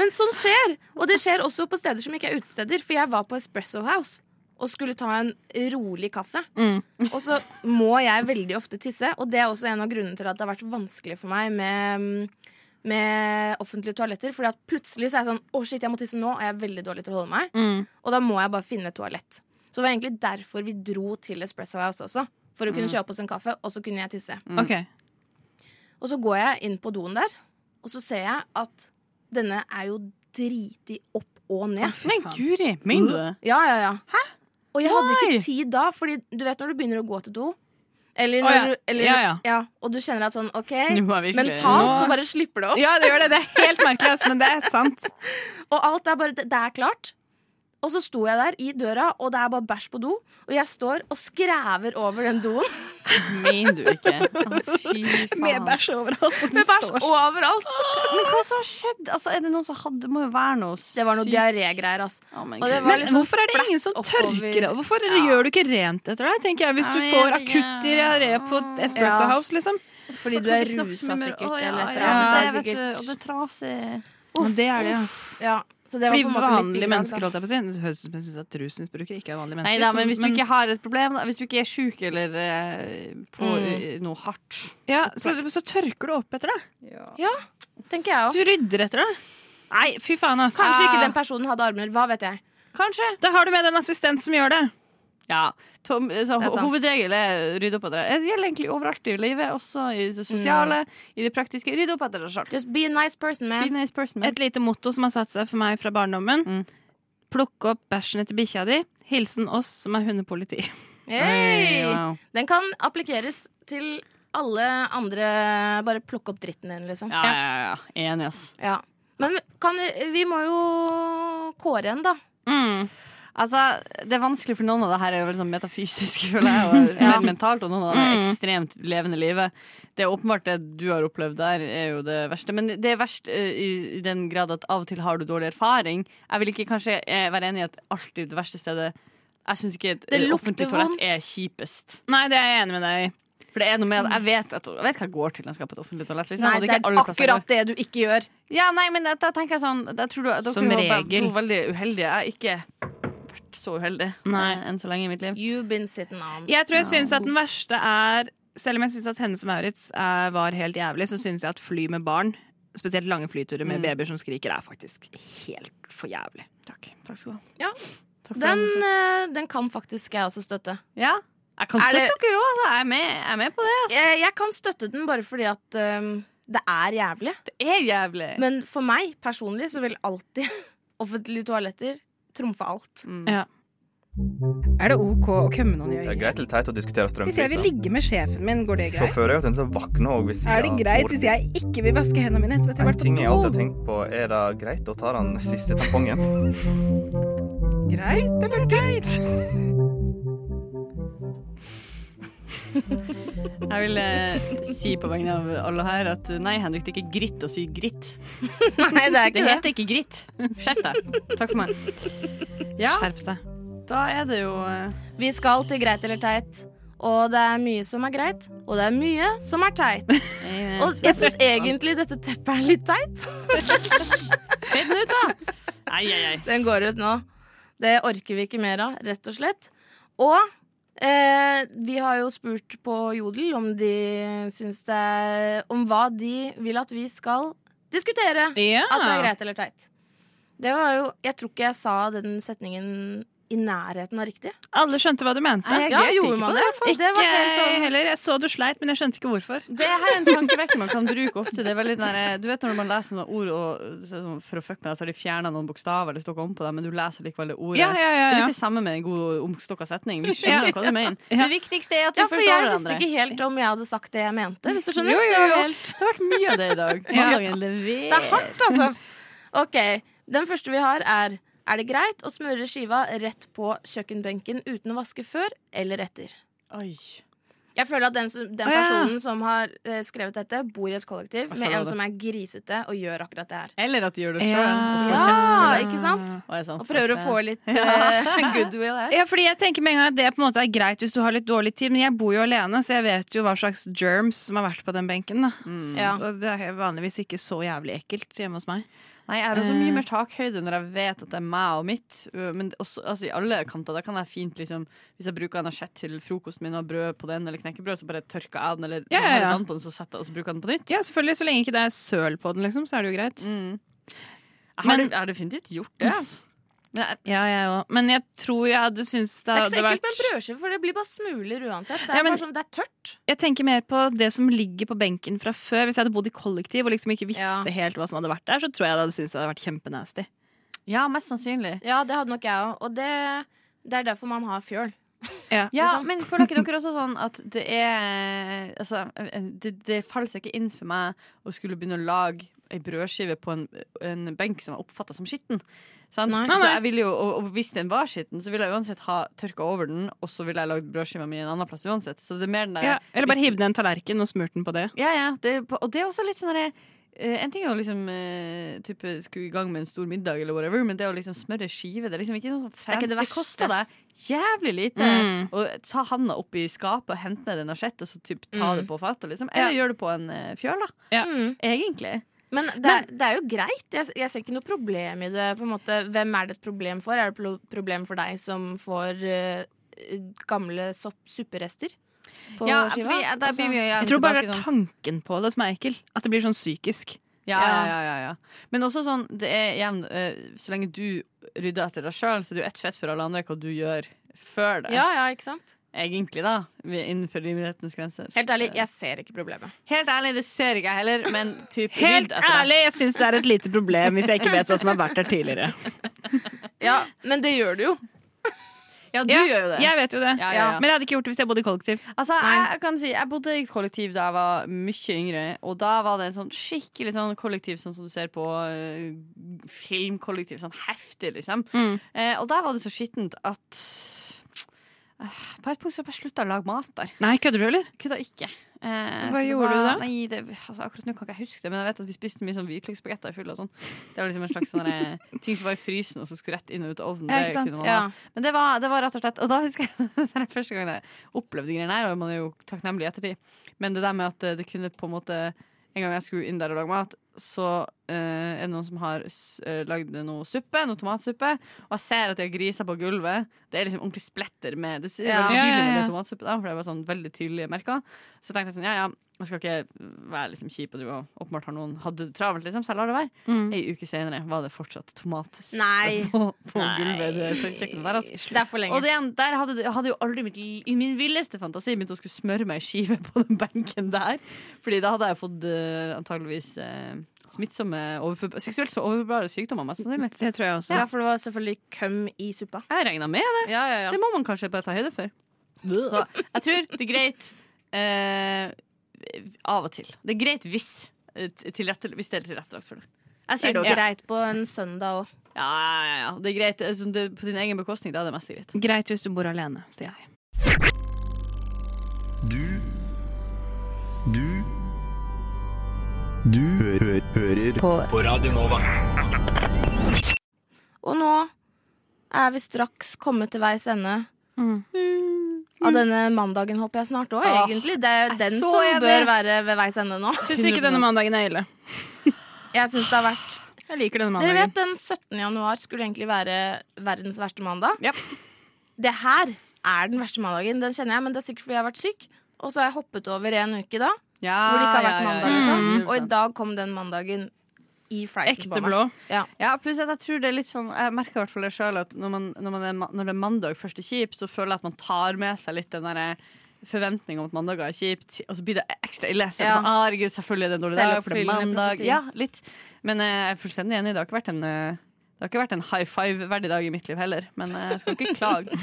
Men sånn skjer. Og det skjer også på steder som ikke er utesteder. For jeg var på Espresso House og skulle ta en rolig kaffe. Og så må jeg veldig ofte tisse, og det er også en av grunnene til at det har vært vanskelig for meg med med offentlige toaletter. Fordi at plutselig så er jeg sånn Å, shit, jeg må tisse nå, og jeg er veldig dårlig til å holde meg. Og da må jeg bare finne et toalett. Så det var egentlig derfor vi dro til Espresso House også. For å kunne kjøpe oss en kaffe, og så kunne jeg tisse.
Ok,
Og så går jeg inn på doen der, og så ser jeg at denne er jo dritig opp og ned.
Men guri, mener du det?
Ja, ja, ja. Hæ? Og jeg hadde
Why?
ikke tid da, fordi du vet når du begynner å gå til do. Eller
Å,
når
ja.
du eller,
Ja, ja.
Og du kjenner at sånn OK,
Nå er virkelig-
mentalt så
Nå-
bare slipper det opp.
Ja, det gjør det. Det er helt merkelig, ass, men det er sant.
Og alt er bare Det det er klart. Og så sto jeg der i døra, og det er bare bæsj på do. Og jeg står og skræver over den doen.
Mener du ikke? Å, fy faen.
Med bæsj overalt. Og du
Med bæsj
står.
overalt.
Men hva som har skjedd? Altså, er det noen som hadde Det må jo være noe sykt.
Det var noe diarégreier, ass.
Å, men
Og det
gud.
var
Men
liksom
hvorfor er det ingen som
splatt
tørker
oppover.
det? Hvorfor gjør du ikke rent etter deg? tenker jeg Hvis du
Jeg
får
vet ikke.
akutt diaré på et Espresso
Ja.
House, liksom.
Fordi du
Kan
er
vi snakke
rusa
med mer-
sikkert,
Å, ja,
eller et eller
ja,
annet. Det
det
er
vet du,
sikkert-
Og det er trasig.
Men det er det, ja.
Ja, så det var
Fordi
på en måte mitt altså.
vanlige
bidrag,
mennesker,
da.
holdt jeg på å si. Det høres ut som jeg synes at rusmisbrukere ikke er vanlige mennesker.
Nei da, men
som-
hvis du ikke har et problem, da, hvis du ikke er sjuk eller eh, på
Mm.
eh, noe hardt
ja, så, så tørker du opp etter deg.
Tenker jeg også.
Du rydder etter deg. Nei, fy faen, ass.
Kanskje ikke
Ah.
den personen hadde armer, hva vet jeg.
Kanskje.
Da har du med deg en assistent som gjør det.
Ja. Tom, eh, så,
Det er
ho-
sant.
hovedregel er rydde opp etter deg. Det gjelder egentlig overalt i livet, også i det sosiale, i det praktiske. Rydde opp etter deg sjøl.
Just be a nice person,
Be a
man.
nice person. man.
Et lite motto som har satt seg for meg fra barndommen.
Mm.
Plukke opp bæsjen etter bikkja di. Hilsen oss som er hundepoliti.
Hey!
Wow.
Den kan applikeres til alle andre Bare plukke opp dritten din, liksom.
Ja, ja, ja. ja. Enig, ass.
Ja. Men kan, vi må jo kåre en, da.
Mm.
Altså, Det er vanskelig, for noen av det her er jo veldig sånn metafysisk, føler jeg, og mer mentalt, og noen av det
Mm.
er ekstremt levende livet. Det er åpenbart det du har opplevd der, er jo det verste. Men det er verst eh, i, i den grad at av og til har du dårlig erfaring. Jeg vil ikke kanskje eh, være enig i at alltid det verste stedet Jeg syns ikke et
Det
eh,
lukter
offentlig toalett
vondt.
er kjipest.
Nei, det er jeg enig med deg i.
For det er noe med at jeg vet, at, jeg vet hva jeg går til når jeg skal på et offentlig toalett. Liksom.
Nei,
Og
det
ikke
er
alle plasser jeg går.
akkurat det du ikke gjør.
Ja, nei, men da tenker jeg sånn da tror du, Dere
Som
var bare
regel.
to veldig uheldige. Jeg har ikke vært så uheldig
Nei.
eh, enn så lenge i mitt liv.
You've been sitting on.
Jeg tror jeg syns at den verste er Selv om jeg syns at Hennes og Maurits er, var helt jævlig, så syns jeg at fly med barn, spesielt lange flyturer med babyer som skriker, er faktisk helt for jævlig.
Takk, takk skal du ha.
Ja.
Takk for
Den,
den.
eh, den kan faktisk jeg også støtte.
Ja. Jeg kan
Er
støtte
det-
dere òg, altså. Jeg er, med, jeg er med på det. ass.
Jeg, jeg kan støtte den bare fordi at eh, det er jævlig.
Det er jævlig.
Men for meg personlig så vil alltid offentlige toaletter trumfe alt.
Mm.
Er det OK å kømme noen i
Det er
øyet?
greit eller teit å diskutere
Hvis jeg vil
strømpriser.
ligge med sjefen min, går det greit?
Sjåfører er jo tendens til å våkne òg hvis
Er det greit hvis jeg ikke vil vaske hendene mine etter at jeg
En
har
ting jeg alltid
vært
har
på do?
tenkt på, er det greit å ta den siste tampongen?
Greit eller teit?
Jeg vil eh, si på vegne av alle her at eh, nei, Henrik, det er ikke gritt å si gritt.
Nei, det er
Det
ikke det.
heter ikke gritt. Skjerp deg. Takk for meg. Ja,
Skjerp deg.
da er det jo eh,
Vi skal til greit eller teit. Og det er mye som er greit, og det er mye som er teit.
eh,
Og jeg syns egentlig dette teppet er litt teit.
Finn ut, da! Ai, ai, ai.
Den går ut nå. Det orker vi ikke mer av, rett og slett. Og eh, vi har jo spurt på Jodel om de syns det er Om hva de vil at vi skal diskutere.
Ja.
At det er greit eller teit. Det var jo Jeg tror ikke jeg sa den setningen i nærheten av riktig.
Alle skjønte hva du mente.
Ja, gjorde man det, i hvert fall?
Ikke
Det var helt sånn
jeg heller. Jeg så du sleit, men jeg skjønte ikke hvorfor.
Det her er en tankevekker man kan bruke ofte. Det er veldig den der, eh, du vet når man leser noen ord og, så er det sånn, for å fucke med deg, så har de fjerna noen bokstaver, eller stokka om på deg, men du leser likevel det ordet.
Ja, ja, ja,
Det er
ja.
litt det samme med en god omstokka setning. Vi skjønner
Ja.
hva du mener. Det viktigste er at vi
Ja, for
forstår
jeg visste
hverandre.
ikke helt om jeg hadde sagt det jeg mente. Hvis du skjønner
Jo, jo,
Det var
jo.
helt-
Det har vært mye av det i dag. Mandagen leverer.
Det er hardt, altså. Ok, Den første vi har, er Er det greit å smøre skiva rett på kjøkkenbenken uten å vaske før eller etter?
Oi.
Jeg føler at den, som- den
Å, ja.
personen som har eh, skrevet dette, bor i et kollektiv med
føler
en
det.
som er grisete og gjør akkurat det her.
Eller at de gjør det sjøl.
Ja.
Og får kjeft for det.
ikke sant?
Og, er sånn,
Og prøver å
fuck
få
det.
litt eh, goodwill her.
Ja, fordi jeg tenker med en gang at Det på en måte er greit hvis du har litt dårlig tid, men jeg bor jo alene, så jeg vet jo hva slags germs som har vært på den benken. Da.
Ja.
Så det er vanligvis ikke så jævlig ekkelt hjemme hos meg.
Nei, jeg har også mye mer takhøyde når jeg vet at det er meg og mitt. Uh, Men det- også, altså, i alle kanter. Da kan jeg fint, liksom Hvis jeg bruker anisjett til frokosten min og brød på den, eller knekkebrød, så bare tørker jeg den, eller
Ja, ja,
har litt
ja.
vann på den, så setter jeg og så bruker jeg den på nytt.
Ja, selvfølgelig, Så lenge ikke det er søl på den, liksom, så er det jo greit.
Mm. Jeg, har,
Men-
jeg har definitivt gjort det, altså. Men jeg,
Ja, jeg òg. Men jeg tror jeg hadde syntes det,
Det er ikke så
hadde
ekkelt med
vært
en brødskive, for det blir bare smuler uansett. Det er,
Ja, men-
bare sånn, det er tørt.
Jeg tenker mer på det som ligger på benken fra før. Hvis jeg hadde bodd i kollektiv og liksom ikke visste
Ja.
helt hva som hadde vært der, så tror jeg det hadde syntes det hadde vært kjempenasty.
ja, mest sannsynlig.
Ja, det hadde nok jeg òg. Og det, det er derfor man har fjøl.
Ja,
Liksom.
men føler ikke dere også sånn at det er altså, det, det faller seg ikke inn for meg å skulle begynne å lage ei brødskive på en, en benk som er oppfatta som skitten. Sant?
Nei.
Så jeg vil jo, og, og hvis den var skitten, så ville jeg uansett ha tørka over den, og så ville jeg lagd brødskiva mi en annen plass uansett. Så det er mer den der
Ja. Eller bare hiv ned en tallerken og smurt den på det.
ja, ja, det, er på- og det er også litt sånn derre eh, En ting er å liksom eh, type, skulle i gang med en stor middag, eller whatever, men det å liksom smøre skive Det er liksom ikke noe sånn
er
fancy.
ikke det
Det,
verste.
koster deg jævlig lite
Mm.
å ta handa opp i skapet og hente ned en asjett og så typ, ta
Mm.
det på fatet. Liksom. Eller gjør det på en eh, fjøl, da.
Mm.
Egentlig.
Men det, er- det er jo greit. Jeg, jeg ser ikke noe problem i det. på en måte. Hvem er det et problem for? Er det et pro- problem for deg som får eh, gamle sopp, supperester på
Ja,
skiva?
fordi, eh, der
Altså,
blir vi jo gjerne
Jeg tror bare
tilbake
det
sånn-
er tanken på det som er ekkel. At det blir sånn psykisk.
Ja, ja, ja, ja, ja. Men også sånn, det er igjen eh, Så lenge du rydder etter deg sjøl, så er det jo ett fett for alle andre hva du gjør før det.
ja, ja, ikke sant?
Egentlig, da. Innenfor rimelighetens grenser.
Helt ærlig, jeg ser ikke problemet.
Helt ærlig, det ser ikke jeg heller, men typ
Helt
rydd etter
ærlig, jeg syns det er et lite problem hvis jeg ikke vet hva som har vært der tidligere.
Ja, Men det gjør du jo.
deg. Ja, du gjør jo det.
Jeg vet jo det.
Ja, ja, ja.
Men jeg hadde ikke gjort det hvis jeg bodde i kollektiv.
Altså, jeg, jeg kan si, jeg bodde i et kollektiv da jeg var mye yngre, og da var det en sånn skikkelig sånn kollektiv sånn som du ser på eh, filmkollektiv, sånn heftig, liksom.
Mm.
Eh, og der var det så skittent at eh, på et punkt så bare slutta jeg å lage mat der.
Nei, kødder du, eller?
Kødda ikke. Eh,
Hva
så det
gjorde du da?
Nei, det, altså, akkurat nå kan ikke jeg huske det, men jeg vet at vi spiste mye sånn hvitløksbagetter i fylla og sånn. Det var liksom en slags sånn der, ting som var i frysen og som skulle rett inn og ut av ovnen.
Ja,
Det
ikke sant?
kunne man ha.
Ja.
Men det var, det var rett og slett Og da husker jeg det er første gangen jeg opplevde de greiene her, og man er jo takknemlig i ettertid, men det der med at eh, det kunne på en måte En gang jeg skulle inn der og lage mat, så eh, er det noen som har s- eh, lagd noe suppe, noe tomatsuppe, og jeg ser at de har griser på gulvet. Det er liksom ordentlig spletter med Det er
Ja.
veldig tydelig
Ja, ja,
når det
ja.
er tomatsuppe, da, for det er bare sånn veldig tydelige merker. Så tenkte jeg sånn, ja ja, jeg skal ikke være liksom kjip og drive og åpenbart har noen hadde det travelt, liksom, så jeg lar det være.
Mm.
Ei uke senere var det fortsatt tomatsuppe
Nei.
på, på gulvet. i Det kjøkkenet der, altså.
Det er for lenge.
Og det, igjen, der hadde, det- hadde jo aldri mitt, li- i min villeste fantasi begynt å skulle smøre meg i skive på den benken der. Fordi da hadde jeg fått eh, antageligvis eh, smittsomme, overfor, seksuelt så overbare sykdommer, mest sannsynlig.
Det tror jeg også.
Ja, for det var selvfølgelig køm i suppa.
Jeg regna med det.
Ja, ja,
Det må man kanskje bare ta høyde for. Så jeg tror det er greit eh, av og til. Det er greit hvis, eh, t- tilrette, hvis det er tilrettelagt for det. Jeg
Det
sier
er
det ok.
greit på en søndag òg.
Ja, ja, ja. Det er greit altså, det, på din egen bekostning. Da er det mest greit.
Greit hvis du bor alene, sier jeg.
Du Du Du hø hø hører på. Radio Nova.
Og nå er vi straks kommet til veis ende Mm. av denne mandagen, håper jeg snart òg,
Åh,
egentlig. Det er jo
jeg er
den
så
som
enig.
bør være ved veis ende nå.
Syns du ikke denne mandagen er ille?
Jeg syns det har vært
Jeg liker denne
Dere
mandagen.
vet den 17. januar skulle egentlig være verdens verste mandag. Det her er den verste mandagen, den kjenner jeg, men det er sikkert fordi jeg har vært syk. Og så har jeg hoppet over en uke da, hvor det ikke har
ja,
vært
ja,
mandag.
ja, ja.
Liksom.
Mm.
Og i dag kom den mandagen i fleisen
Ekte
på meg.
blå.
Ja.
Ja, pluss at jeg tror det er litt sånn Jeg merker i hvert fall det sjøl at når, man, når, man er, ma- når det er mandag først er kjipt, så føler jeg at man tar med seg litt den derre forventninga om at mandager er kjipt, og så blir det ekstra ille. Så er det
Ja.
sånn, «Ah, herregud, selvfølgelig er det en dårlig dag, for det er
Selvoppfyllende
mandag.
profeti.
Ja, litt. Men eh, jeg er fullstendig enig. Det har ikke vært en, eh, det har ikke vært en high five-verdig dag i mitt liv heller, men eh, jeg skal ikke klage.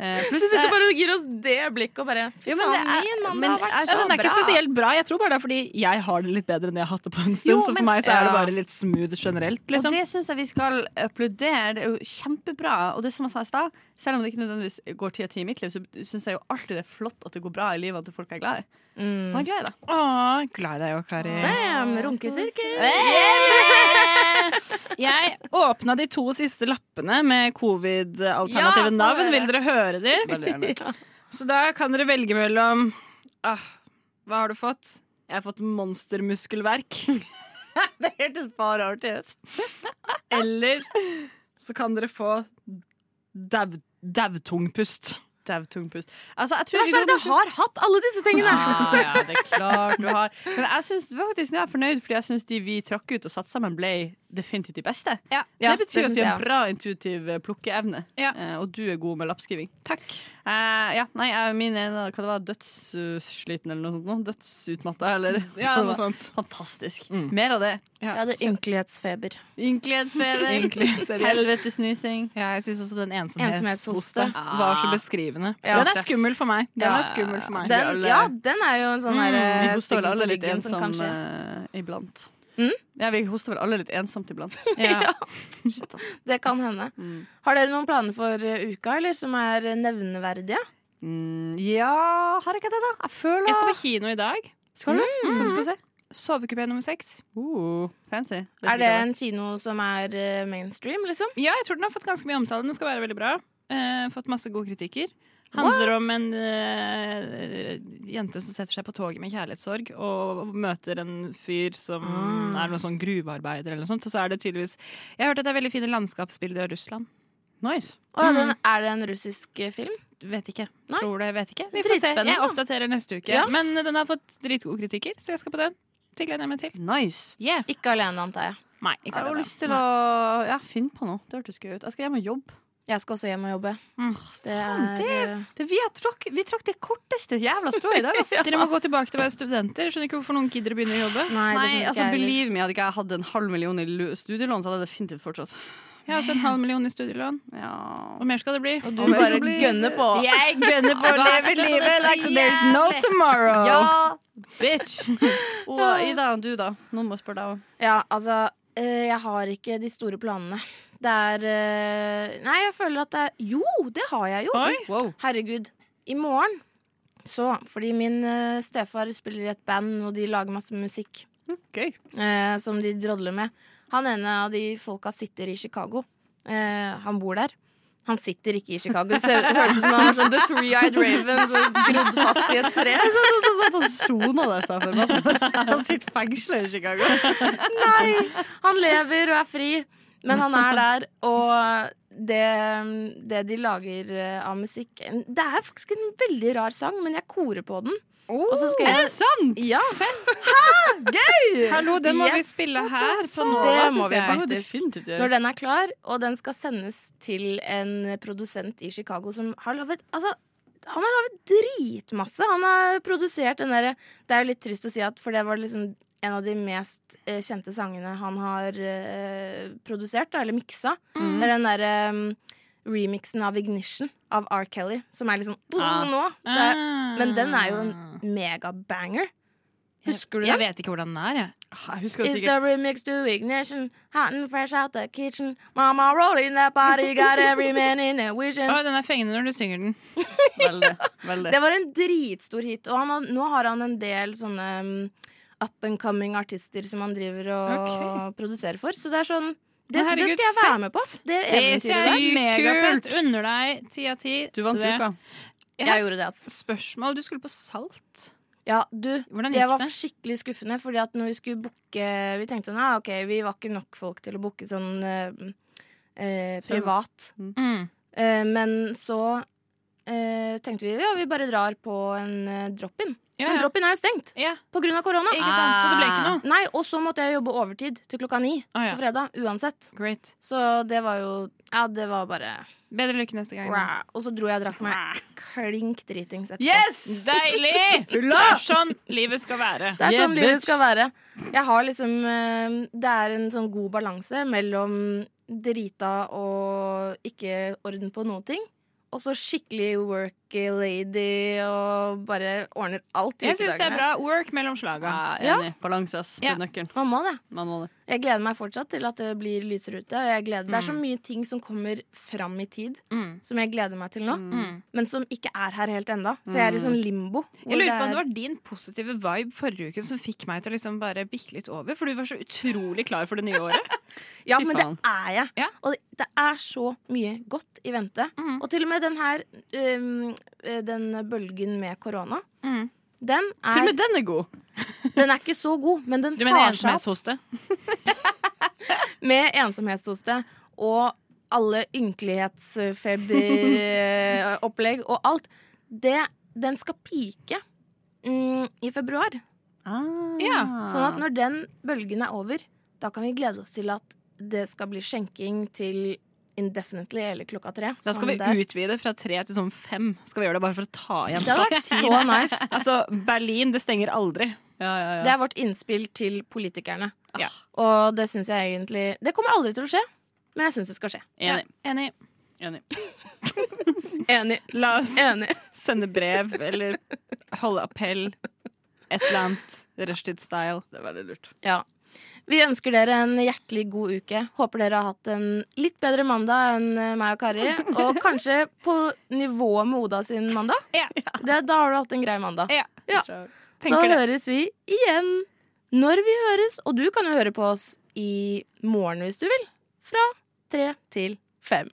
Eh,
Du
pluss
sitter
jeg-
bare og gir oss det blikket og bare Fy
Jo, men
faen,
det er-
min mandag
men
har vært
er
så
Ja, den er
bra.
ikke spesielt bra. Jeg tror bare det er fordi jeg har det litt bedre enn jeg har hatt det på en stund.
Jo,
så
men-
for meg så er det
ja.
bare litt smooth generelt.
Og
Liksom.
det syns jeg vi skal applaudere. Det er jo kjempebra. Og det som jeg sa i stad, selv om det ikke nødvendigvis går ti av ti i mitt liv, så syns jeg jo alltid det er flott at det går bra i livet, at folk er glad i.
Mm.
Man er glad i det.
Åh, glad i deg òg, Kari.
Damn, runkesirkel.
Jeg åpna de to siste lappene med
Ja,
covid-alternative
få
navn.
høre.
Vil dere høre de?
Veldig
Ja. Så da kan dere velge mellom ah, Hva har du fått? Jeg har fått monstermuskelverk.
det hørtes bare artig ut.
Eller så kan dere få dau- daudtungpust.
Daudtungpust. Altså, jeg tror
Det verste er at jeg har
hatt alle disse tingene!
Ja, ja, det er klart du har. Men jeg synes, faktisk, jeg er fornøyd, fordi jeg syns de vi trakk ut og satte sammen, ble definitivt de beste.
Ja,
det betyr
det
at
synes
vi
jeg
har
også.
bra intuitiv eh, plukkeevne, Eh, og du er god med lappskriving. Takk. ja, nei, jeg, min ene, hva det var, dødssliten eller noe sånt? nå? Dødsutmatta, eller?
Ja,
hva det
noe
var.
sånt. Mm.
Fantastisk. Mer av det.
Ja.
Jeg hadde ynkelighetsfeber.
Ynkelighetsfeber.
Ynkelighetsfeber.
Helvetes nysing.
Ja, jeg syns også den
Ensomhetshoste. Ah.
ensomhetshoste var så beskrivende.
Ja.
Den er skummel for meg. Den
Ja.
er skummel for meg.
Den, ja, den er jo en sånn mm.
Eh,
Mm. Vi hoster vel alle litt eh,
som kan skje.
ensomme iblant.
Mm?
Ja, vi hoster vel alle litt ensomt iblant.
Ja. Det kan hende. Har dere noen planer for eh, uka, eller, som er eh, nevneverdige?
ja, har jeg ikke det, da? Jeg føler
Jeg skal på kino i dag.
Skal du?
Mm.
Hva du skal se?
Sovekupé nummer seks.
Uh, fancy.
Er det en kino som er eh, mainstream, liksom?
Ja, jeg tror den har fått ganske mye omtale. Den skal være veldig bra. Eh, fått masse gode kritikker. Handler om en eh, jente som setter seg på toget med kjærlighetssorg og møter en fyr som
Ah.
er noen sånn gruvearbeider eller noe sånt. Og så er det tydeligvis Jeg har hørt at det er veldig fine landskapsbilder av Russland.
Nice.
Og er, det en, Mm. er det en russisk eh, film?
Vet ikke. Tror det, vet ikke. Vi får se.
Dritspennende,
Jeg
da.
oppdaterer neste uke.
Ja.
Men den har fått dritgode kritikker, så jeg skal på den. Det gleder jeg meg til.
Nice.
Ikke alene, antar jeg.
Nei,
Jeg
ikke
har
alene.
lyst til å ja, finne på noe. Det hørtes gøy ut. Jeg skal hjem og jobbe.
Jeg skal også hjem og jobbe. Det er eh,
Det, vi, har trakk, vi trakk det korteste jævla strået i dag. ass.
Dere må gå tilbake til å være studenter. Jeg Skjønner ikke hvorfor noen gidder å begynne å jobbe.
Nei, det
Nei,
skjønner ikke jeg
altså
heller.
Believe me, hadde ikke jeg hatt en halv million i lu- studielån, så hadde jeg definitivt fortsatt.
Jeg har også en halv million i studielån. Og mer skal det bli. Og
du liksom. bare gønner på.
Jeg gønner på å
Bare
leve
slå det
livet
så
like there's no
jævlig.
tomorrow.
Ja, bitch! Og Ida, du da? Noen må spørre deg òg.
Ja, altså eh, Jeg har ikke de store planene. Det er eh, Nei, jeg føler at det er Jo, det har jeg jo!
Oi.
Herregud. I morgen så Fordi min eh, stefar spiller i et band, og de lager masse musikk eh, som de drodler med. Han ene av de folka sitter i Chicago. Eh, han bor der. Han sitter ikke i Chicago. Det ser- det høres ut som han er sånn The Three-Eyed Raven som grodd fast i et tre.
Han sona deg i stedet for meg. Han sitter fengsla i Chicago.
Nei! Han lever og er fri, men han er der. Og det, det de lager eh, av musikk Det er faktisk en veldig rar sang, men jeg korer på den. Og så skal
Oh, er
jeg-
det sant?
Ja.
Hallo, den må vi
Yes.
spille her fra nå
Det
av,
må
syns
vi
jeg.
faktisk. Når den er klar, og den skal sendes til en produsent i Chicago som har laget Altså, han har laget dritmasse. Han har produsert den derre Det er jo litt trist å si at, for det var liksom en av de mest eh, kjente sangene han har eh, produsert, da, eller miksa.
Mm.
Det er den derre mm, remixen av Ignition av R. Kelly, som er liksom boom,
Ah.
nå! Det er,
Ah.
men den er jo en megabanger. Husker du
Jeg
den?
vet ikke hvordan den er, jeg.
Jeg husker
It's the remix to ignition, hot and fresh out the kitchen. Mama rolling that body, got every man in a vision.
Å, den er fengende når du synger den.
Veldig. veldig.
Det var en dritstor hit, og han har, nå har han en del sånne um, up and coming artister som han driver og produserer for. Så det er sånn Det,
Å, herregud,
det skal jeg være
fett.
med på. Det
Det
eventyret
er
der.
megafett. Unner deg ti av ti.
Du vant
Det-
uka.
Jeg,
Jeg
har
gjorde det, altså.
Spørsmål. Du skulle på Salt.
Ja, du,
Hvordan
det
gikk
var
det?
skikkelig skuffende, fordi at når vi skulle booke Vi tenkte sånn, ja, ok, vi var ikke nok folk til å booke sånn eh,
Sånn.
eh, privat.
Mm.
Eh, men så eh, tenkte vi ja, vi bare drar på en eh, drop-in.
Ja,
Men
ja.
drop-in er jo stengt
Ja.
på grunn av korona.
Ikke sant? Så det ble ikke noe. Ah,
Nei, Og så måtte jeg jobbe overtid til klokka ni
ja.
på fredag uansett.
Great.
Så det var jo Ja, det var bare
Bedre lykke neste gang. da.
Wow. Og så dro jeg og drakk meg klink dritings etterpå.
Yes!
Deilig! Det er sånn livet skal være.
Det er sånn livet skal være. Jeg har liksom eh, Det er en sånn god balanse mellom drita og ikke orden på noen ting. Og så skikkelig worky lady og bare ordner alt. i
Jeg syns det er
ukedagene.
bra. Work mellom slaga.
Ja.
Enig. Balanse, ass. Det
Ja.
er nøkkelen.
Man må det.
Man må det.
Jeg gleder meg fortsatt til at det blir lysere ute. Og jeg gleder, Det er så mye ting som kommer fram i tid,
Mm.
som jeg gleder meg til nå.
Mm.
Men som ikke er her helt enda Så jeg er i sånn limbo. hvor
Jeg lurer på om
er-
det var din positive vibe forrige uke som fikk meg til å liksom bare bikke litt over. For du var så utrolig klar for det nye året.
Ja,
Fy
men det
faen.
er jeg.
Ja. Mm.
Og det er så mye godt i vente. Og til og med den her um, Den bølgen med korona,
Mm.
den
Til og
er,
med den er god.
den er ikke så god, men den
Du mener
tar seg opp
ensomhetshoste?
med ensomhetshoste og alle ynkelighetsfeberopplegg og alt. Det, den skal pike mm, i februar.
Ja.
Sånn
Ah.
at når den bølgen er over, da kan vi glede oss til at det skal bli skjenking til indefinitely eller klokka tre.
Da skal
Sånn der.
vi utvide fra tre til sånn fem. Skal vi gjøre det bare for å ta igjen
Det hadde vært så nice.
Altså, Berlin, det stenger aldri.
Ja, ja,
Det
ja.
er vårt innspill til politikerne.
Ja.
Og det syns jeg egentlig Det kommer aldri til å skje, men jeg syns det skal skje.
Enig.
Enig.
Enig.
Enig.
La oss
Enig.
sende brev eller holde appell. Et eller annet rushtid-style.
Det er veldig lurt.
Ja. Vi ønsker dere en hjertelig god uke. Håper dere har hatt en litt bedre mandag enn eh, meg og Kari. Og kanskje på nivået med Oda sin mandag.
Ja.
Det, da har du hatt en grei mandag.
Ja.
Ja. Så
Tenker det.
høres vi igjen når vi høres. Og du kan jo høre på oss i morgen hvis du vil. Fra tre til fem.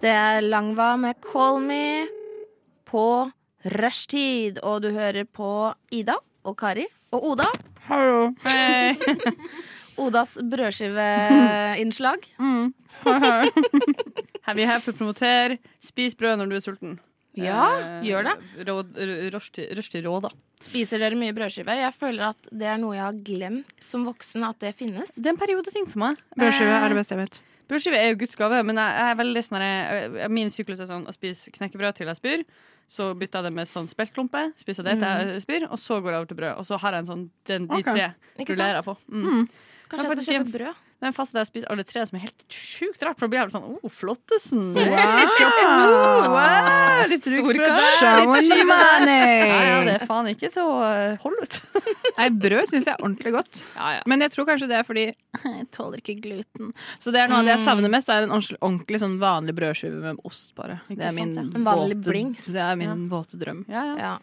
Det er Langva med Call Me på rushtid. Og du hører på Ida og Kari og Oda.
Hallo.
Odas brødskiveinnslag. Mm.
Her vi er her for å promotere. Spis brød når du er sulten. Eh,
Ja, gjør det.
Rushtid-råd, da.
Spiser dere mye brødskive? Jeg føler at det er noe jeg har glemt som voksen, at det finnes.
Det er en periodeting for meg.
Brødskive er det beste jeg vet.
Eh, Brødskive er jo Guds gave, men jeg, jeg er veldig sånn her- jeg- min syklus er sånn å spise knekkebrød til jeg spyr. Så bytter jeg det med sånn speltklumpe, spiser det til jeg spyr, og så går jeg over til brød. Og så har jeg en sånn den, de
Ok.
tre
Ikke
rullerer jeg på.
sant? Mm.
Kanskje jeg skal kjøpe brød?
Det er en fase der jeg spiser alle tre, som er helt sjukt rart. For da blir jeg sånn Å, flottesen!
Wow.
Kjøp-
Ah.
wow. Litt
Stor
rugsprø der,
kasjon
litt skive der.
money.
Ja, ja, det er faen ikke til å eh, holde ut.
Nei, brød syns jeg er ordentlig godt. Men jeg tror kanskje det er fordi jeg tåler ikke gluten. Så det er noe av det jeg savner mest, er en ordentlig, ordentlig sånn vanlig brødskive med ost, bare.
Ikke
Det er min,
sant, ja. En vanlig blings.
våte, det er min våte drøm.
Ja.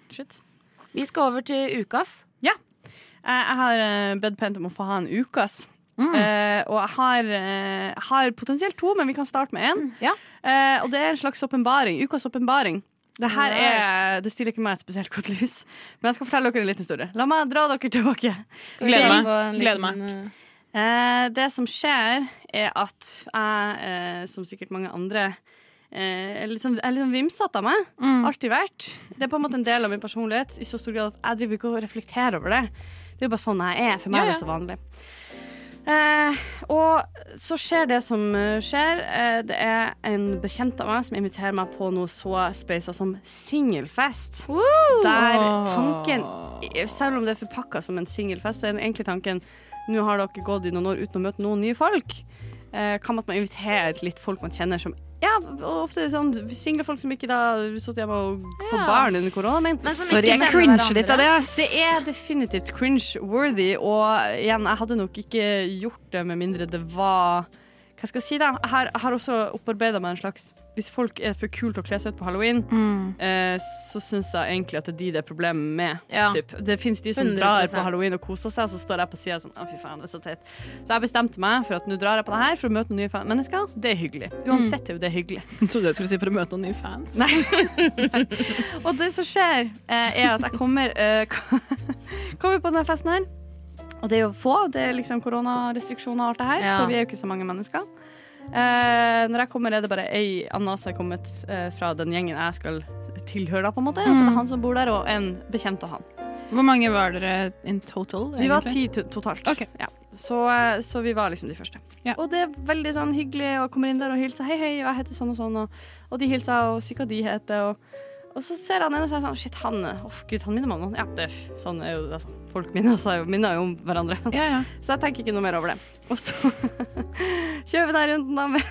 Vi skal over til ukas.
Ja. Jeg jeg har eh, bedt pent om å få ha en ukas.
Mm.
Eh, og jeg har, eh, har potensielt to, men vi kan starte med én. Eh, og det er en slags åpenbaring. Ukas åpenbaring. Det her er, det stiller ikke meg et spesielt godt lys, men jeg skal fortelle dere en liten historie. La meg dra dere tilbake.
vi Gleder se meg. på en Gleder liten, meg.
Eh, det som skjer, er at jeg, eh, som sikkert mange andre, eh, er litt sånn, er litt sånn vimsete av meg.
Mm.
Alltid vært. Det er på en måte en del av min personlighet i så stor grad at jeg driver ikke og reflekterer over det. Det er jo bare sånn jeg er. For
Ja,
meg
ja.
er det så vanlig. Eh, og så skjer det som eh, skjer. Eh, det er en bekjent av meg som inviterer meg på noe så speisa som singelfest. Der tanken, selv om det er forpakka som en singelfest, så er den egentlig tanken Nå har dere gått i noen år uten å møte noen nye folk. Eh, kan man at man inviterer litt folk man kjenner som ja, og ofte sånn single folk som ikke da sittet hjemme og fått barn under koronaen.
Men som Sorry, ikke jeg kjenner cringer hverandre. litt av det, ass.
Det er definitivt cringe-worthy, og igjen, jeg hadde nok ikke gjort det med mindre det var Hva skal jeg si, da? Jeg har, jeg har også opparbeida meg en slags Hvis folk er for kule til å kle seg ut på halloween,
Mm.
eh, så syns jeg egentlig at det er de det er problemet med.
Ja.
Typ. Det fins de som drar på
100%.
halloween og koser seg, og så står jeg på sida sånn Å, fy faen, det er så teit. Så jeg bestemte meg for at nå drar jeg på det her for å møte nye fan- mennesker. Det er hyggelig. Uansett er jo det hyggelig.
Jeg trodde jeg skulle si for å møte noen nye fans.
Og det som skjer, eh, er at jeg kommer, eh, kommer på denne festen her. Og det er jo få. Det er liksom koronarestriksjoner og alt det her,
Ja.
så vi er jo ikke så mange mennesker. Eh, når jeg kommer, er det bare ei anna som er kommet eh, fra den gjengen jeg skal tilhøre, da, på en måte.
Mm.
Og så er det han som bor der, og en bekjent av han.
Hvor mange var dere in total?
Vi var
egentlig?
ti to- totalt. Ja. Så, så vi var liksom de første. Og det er veldig sånn hyggelig å komme inn der og hilse. Hei, hei, og jeg heter sånn og sånn. Og, og de hilser, og sikkert de heter. Og, og så ser han en og sier sånn Shit, han Uff, gud, han minner meg om noen. Ja, det, er f- sånn er jo altså, Folk minner, seg jo- minner jo om hverandre. Så jeg tenker ikke noe mer over det. Og så kjører vi den runden da med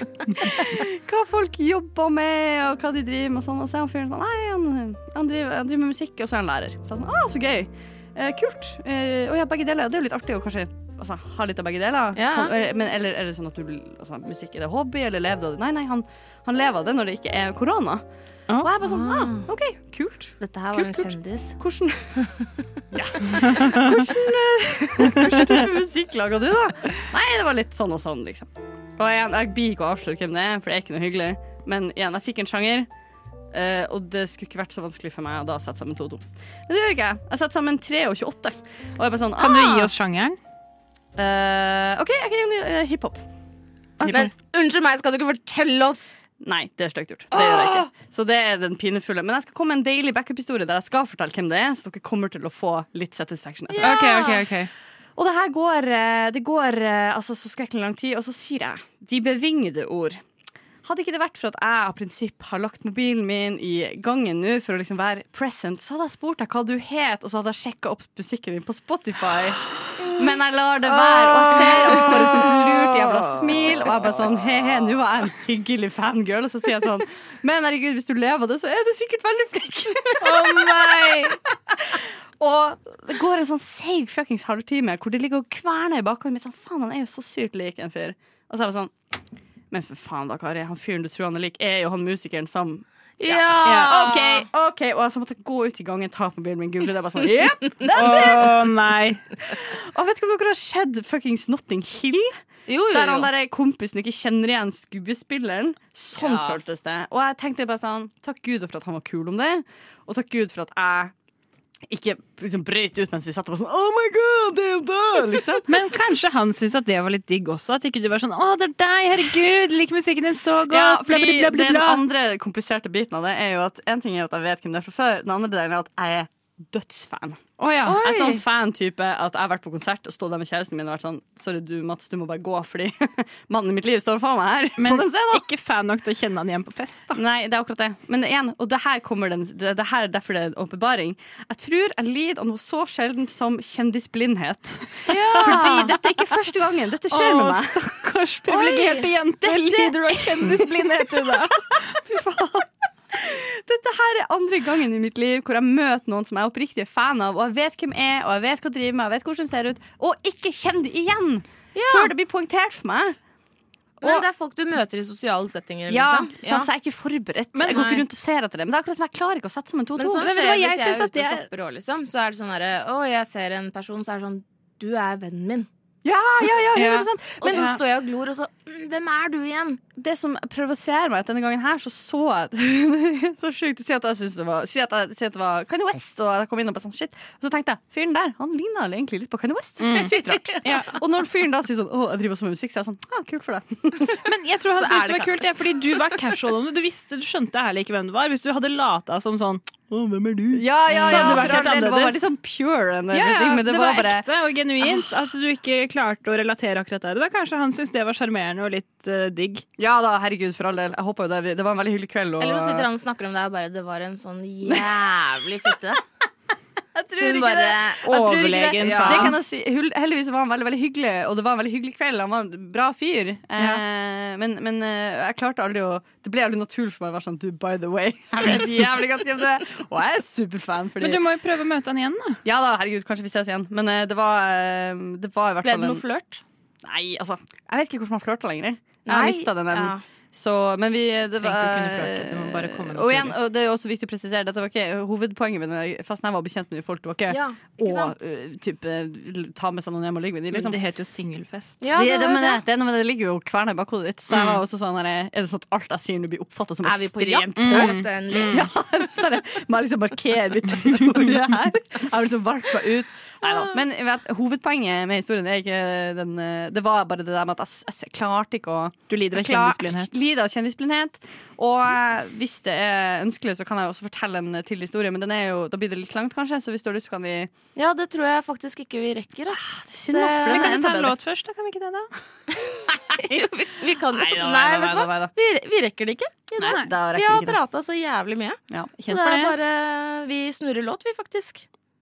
hva folk jobber med, og hva de driver med. Og sånn. Og så er han fyren sånn Nei, han, han, driver, han driver med musikk, og så er han lærer. Så jeg er sånn, ah, så gøy. Eh, kult. Eh, og ja, begge deler. Det er jo litt artig å kanskje altså, ha litt av begge deler.
Ja.
Kan, eh, men eller er det sånn at du blir- altså, musikk er det hobby, eller lever du av det? Nei, nei, han, han lever av det når det ikke er korona. Og jeg bare sånn ah, OK, kult.
Dette her var
Kult,
en
kult.
kjendis.
Hvordan Hvordan, hvordan type musikk lager du, da? Nei, det var litt sånn og sånn, liksom. Og igjen, jeg blir ikke å avsløre hvem det er, for det er ikke noe hyggelig. Men igjen, jeg fikk en sjanger, eh, og det skulle ikke vært så vanskelig for meg å da sette sammen to og to. Men det gjør ikke jeg. Jeg setter sammen tre og 28. Og jeg bare sånn
Kan du
ah,
gi oss sjangeren?
eh, OK, jeg kan gi uh, hiphop.
Men unnskyld meg, skal du ikke fortelle oss
Nei, det er stygt gjort. Det gjør
Ah!
jeg ikke. Så det er den pinefulle. Men jeg skal komme med en deilig backup-historie der jeg skal fortelle hvem det er, så dere kommer til å få litt satisfaction. etter det.
Ok, ok, ok.
Og det her går, eh, det går eh, altså, så skrekkelig lang tid, og så sier jeg de bevingede ord. Hadde ikke det vært for at jeg av prinsipp har lagt mobilen min i gangen nå for å liksom være present, så hadde jeg spurt deg hva du het, og så hadde jeg sjekka opp musikken din på Spotify. Men jeg lar det være, og jeg ser og får et sånt lurt jævla smil, og jeg bare sånn he-he, nå var jeg en hyggelig fangirl, og så sier jeg sånn men herregud, hvis du lever av det, så er du sikkert veldig flink. Og det går en sånn seig fuckings halvtime hvor det ligger og kverner i bakhodet mitt. Sånn, faen, han er jo så sykt lik en fyr. Og så er jeg bare sånn Men for faen da, Kari. Han fyren du tror han er lik, er jo han musikeren som
Ja.
Ja,
Ah.
ok, ok Og jeg så måtte jeg gå ut i gangen, ta på mobilen min, google det. og Bare sånn, yep, that's
Å, nei.
Og vet ikke om dere har sett fuckings Notting Hill?
jo,
Der han
jo.
der kompisen ikke kjenner igjen skuespilleren. Sånn
Ja.
føltes det. Og jeg tenkte bare sånn Takk Gud for at han var kul om det, og takk Gud for at jeg ikke liksom brøyt ut mens vi satt og var sånn Oh my god, det er jo det! Liksom.
Men kanskje han syntes at det var litt digg også? At ikke du var sånn 'Å, det er deg, herregud, liker musikken din så godt',
Ja,
bla, bla,
fordi
bla, bla,
Den
bla.
andre kompliserte biten av det er jo at en ting er jo at jeg vet hvem det er fra før. Den andre delen er at jeg er dødsfan.
Å ja.
Jeg er
Oi.
sånn fan-type at jeg har vært på konsert og stått der med kjæresten min og vært sånn Sorry, du Mats, du må bare gå, fordi mannen i mitt liv står for meg her. på den scenen.
Ikke fan nok til å kjenne han igjen på fest, da.
Nei, det er akkurat det. Men igjen, og det her, kommer den, det, det her er derfor det er en åpenbaring. Jeg tror jeg lider av noe så sjeldent som kjendisblindhet. Fordi dette er ikke første gangen. Dette skjer
Å,
med meg.
Stakkars privilegerte jente. Lider av kjendisblindhet, du, da.
Dette her er andre gangen i mitt liv hvor jeg møter noen som jeg er oppriktig fan av, og jeg vet hvem er, og jeg vet hva de driver med, jeg vet hvordan de ser ut, og ikke kjenner det igjen! Før det blir poengtert for meg.
Men det er folk du møter i sosiale settinger.
Ja,
liksom.
sant, Så jeg er ikke forberedt.
Men-
jeg går
nei.
ikke rundt og ser etter det. Men det er akkurat som jeg klarer ikke å sette sammen to og
Men
to.
sånn
Men vet du
skjer
hva, jeg
hvis jeg
synes
er
at
ute
det
og
er-
shopper òg, liksom. Så er det sånn herre Å, jeg ser en person, så er det sånn Du er vennen min.
Ja, ja, ja, 100%.
Og
Men-
så står jeg og glor, og så «Mm, Hvem er du igjen?
det som provoserer meg, at denne gangen her så så jeg Så sjukt å si at jeg synes det var Si at, jeg, si at det var Kanye West, og jeg kom inn og bare sånn shit. Og så tenkte jeg fyren der, han ligna vel egentlig litt på Kanye West.
Mm.
Det er Sykt rart. Og når fyren da sier sånn å, jeg driver også med musikk, så er jeg sånn ja, kult for deg.
Men jeg tror han
Så
syntes
er
det
det
var kult, ja, fordi du var casual om det. Du visste, du skjønte ærlig ikke hvem det var. Hvis du hadde lata som sånn Å, hvem er du?
Ja, ja,
Så
ja,
hadde det vært
for all
helt
del, det var
annerledes.
litt sånn pure, den der
ja, ja,
ting, men
det,
det
var,
var bare-
ekte og genuint. At du ikke klarte å relatere akkurat der. Da kanskje han syntes det var sjarmerende og litt eh, digg.
Ja da, herregud, for all del. Jeg håper jo det. Det var en veldig hyggelig kveld. Og,
Eller så sitter han og snakker om deg og bare Det var en sånn jævlig fitte.
Jeg tror
Hun
ikke
bare-
det. Jeg tror ikke det.
Overlegen,
Ja.
faen.
Det kan jeg si. Hul- Heldigvis var han veldig, veldig hyggelig, og det var en veldig hyggelig kveld. Han var en bra fyr. Eh, men men eh, jeg klarte aldri å Det ble aldri naturlig for meg å være sånn du, by the way. Jeg vet jævlig godt hvem du er, og jeg er superfan. Fordi,
Men du må jo prøve å møte han igjen, da.
Ja da, herregud, kanskje vi ses igjen. Men eh, det var, eh, det var i hvert
Ble
fall
det noe
en-
flørt?
Nei, altså. Jeg vet ikke hvordan man flørter lenger. Jeg har
Nei,
mista den evnen.
ja.
Så, men vi det
Trenger
var,
ikke å kunne flørte, du må bare komme
og
naturlig.
igjen, og det er jo også viktig å presisere Dette var ikke hovedpoenget med denne festen. Jeg var bekjent med nye folk. Det var ikke
Ja, ikke
å
sant?
eh, typ, eh, ta med seg noen hjem og ligge med dem.
Men
Liksom.
det heter jo singelfest.
Ja, det, det, men det, det, er noe med det, det ligger jo kverna i bakhodet ditt. Så jeg
Mm.
var også sånn her, Er det sånn at alt jeg sier nå blir oppfatta som Mm.
Er vi på jakt Mm.
ekstremt
etter
tøft?
en
Ja, så er det, må jeg liksom markere mitt territorium her? Jeg har liksom valgt meg ut. Neida. Men jeg vet, hovedpoenget med historien er ikke den eh, Det var bare det der med at jeg, s- jeg klarte ikke å
Du lider av
Jeg klar-
kjendisblindhet.
Jeg lider av kjendisblindhet. Og eh, hvis det er ønskelig, så kan jeg jo også fortelle en eh, til historie, men den er jo, da blir det litt langt, kanskje. Så hvis du har lyst, så kan vi
Ja, det tror jeg faktisk ikke vi rekker, ass.
synd, ass, for
Det-
den er
Vi kan
enda
ta en
bedre.
låt
først, da? Kan vi ikke det, da?
vi, vi kan
Nei da, nei
Nei,
da,
vet du
nei
hva?
da, nei da.
Vi, vi rekker det ikke.
Nei, da
vi
rekker vi
har
ikke det.
prata så jævlig mye.
Ja,
Så det er bare Vi snurrer låt, vi, faktisk.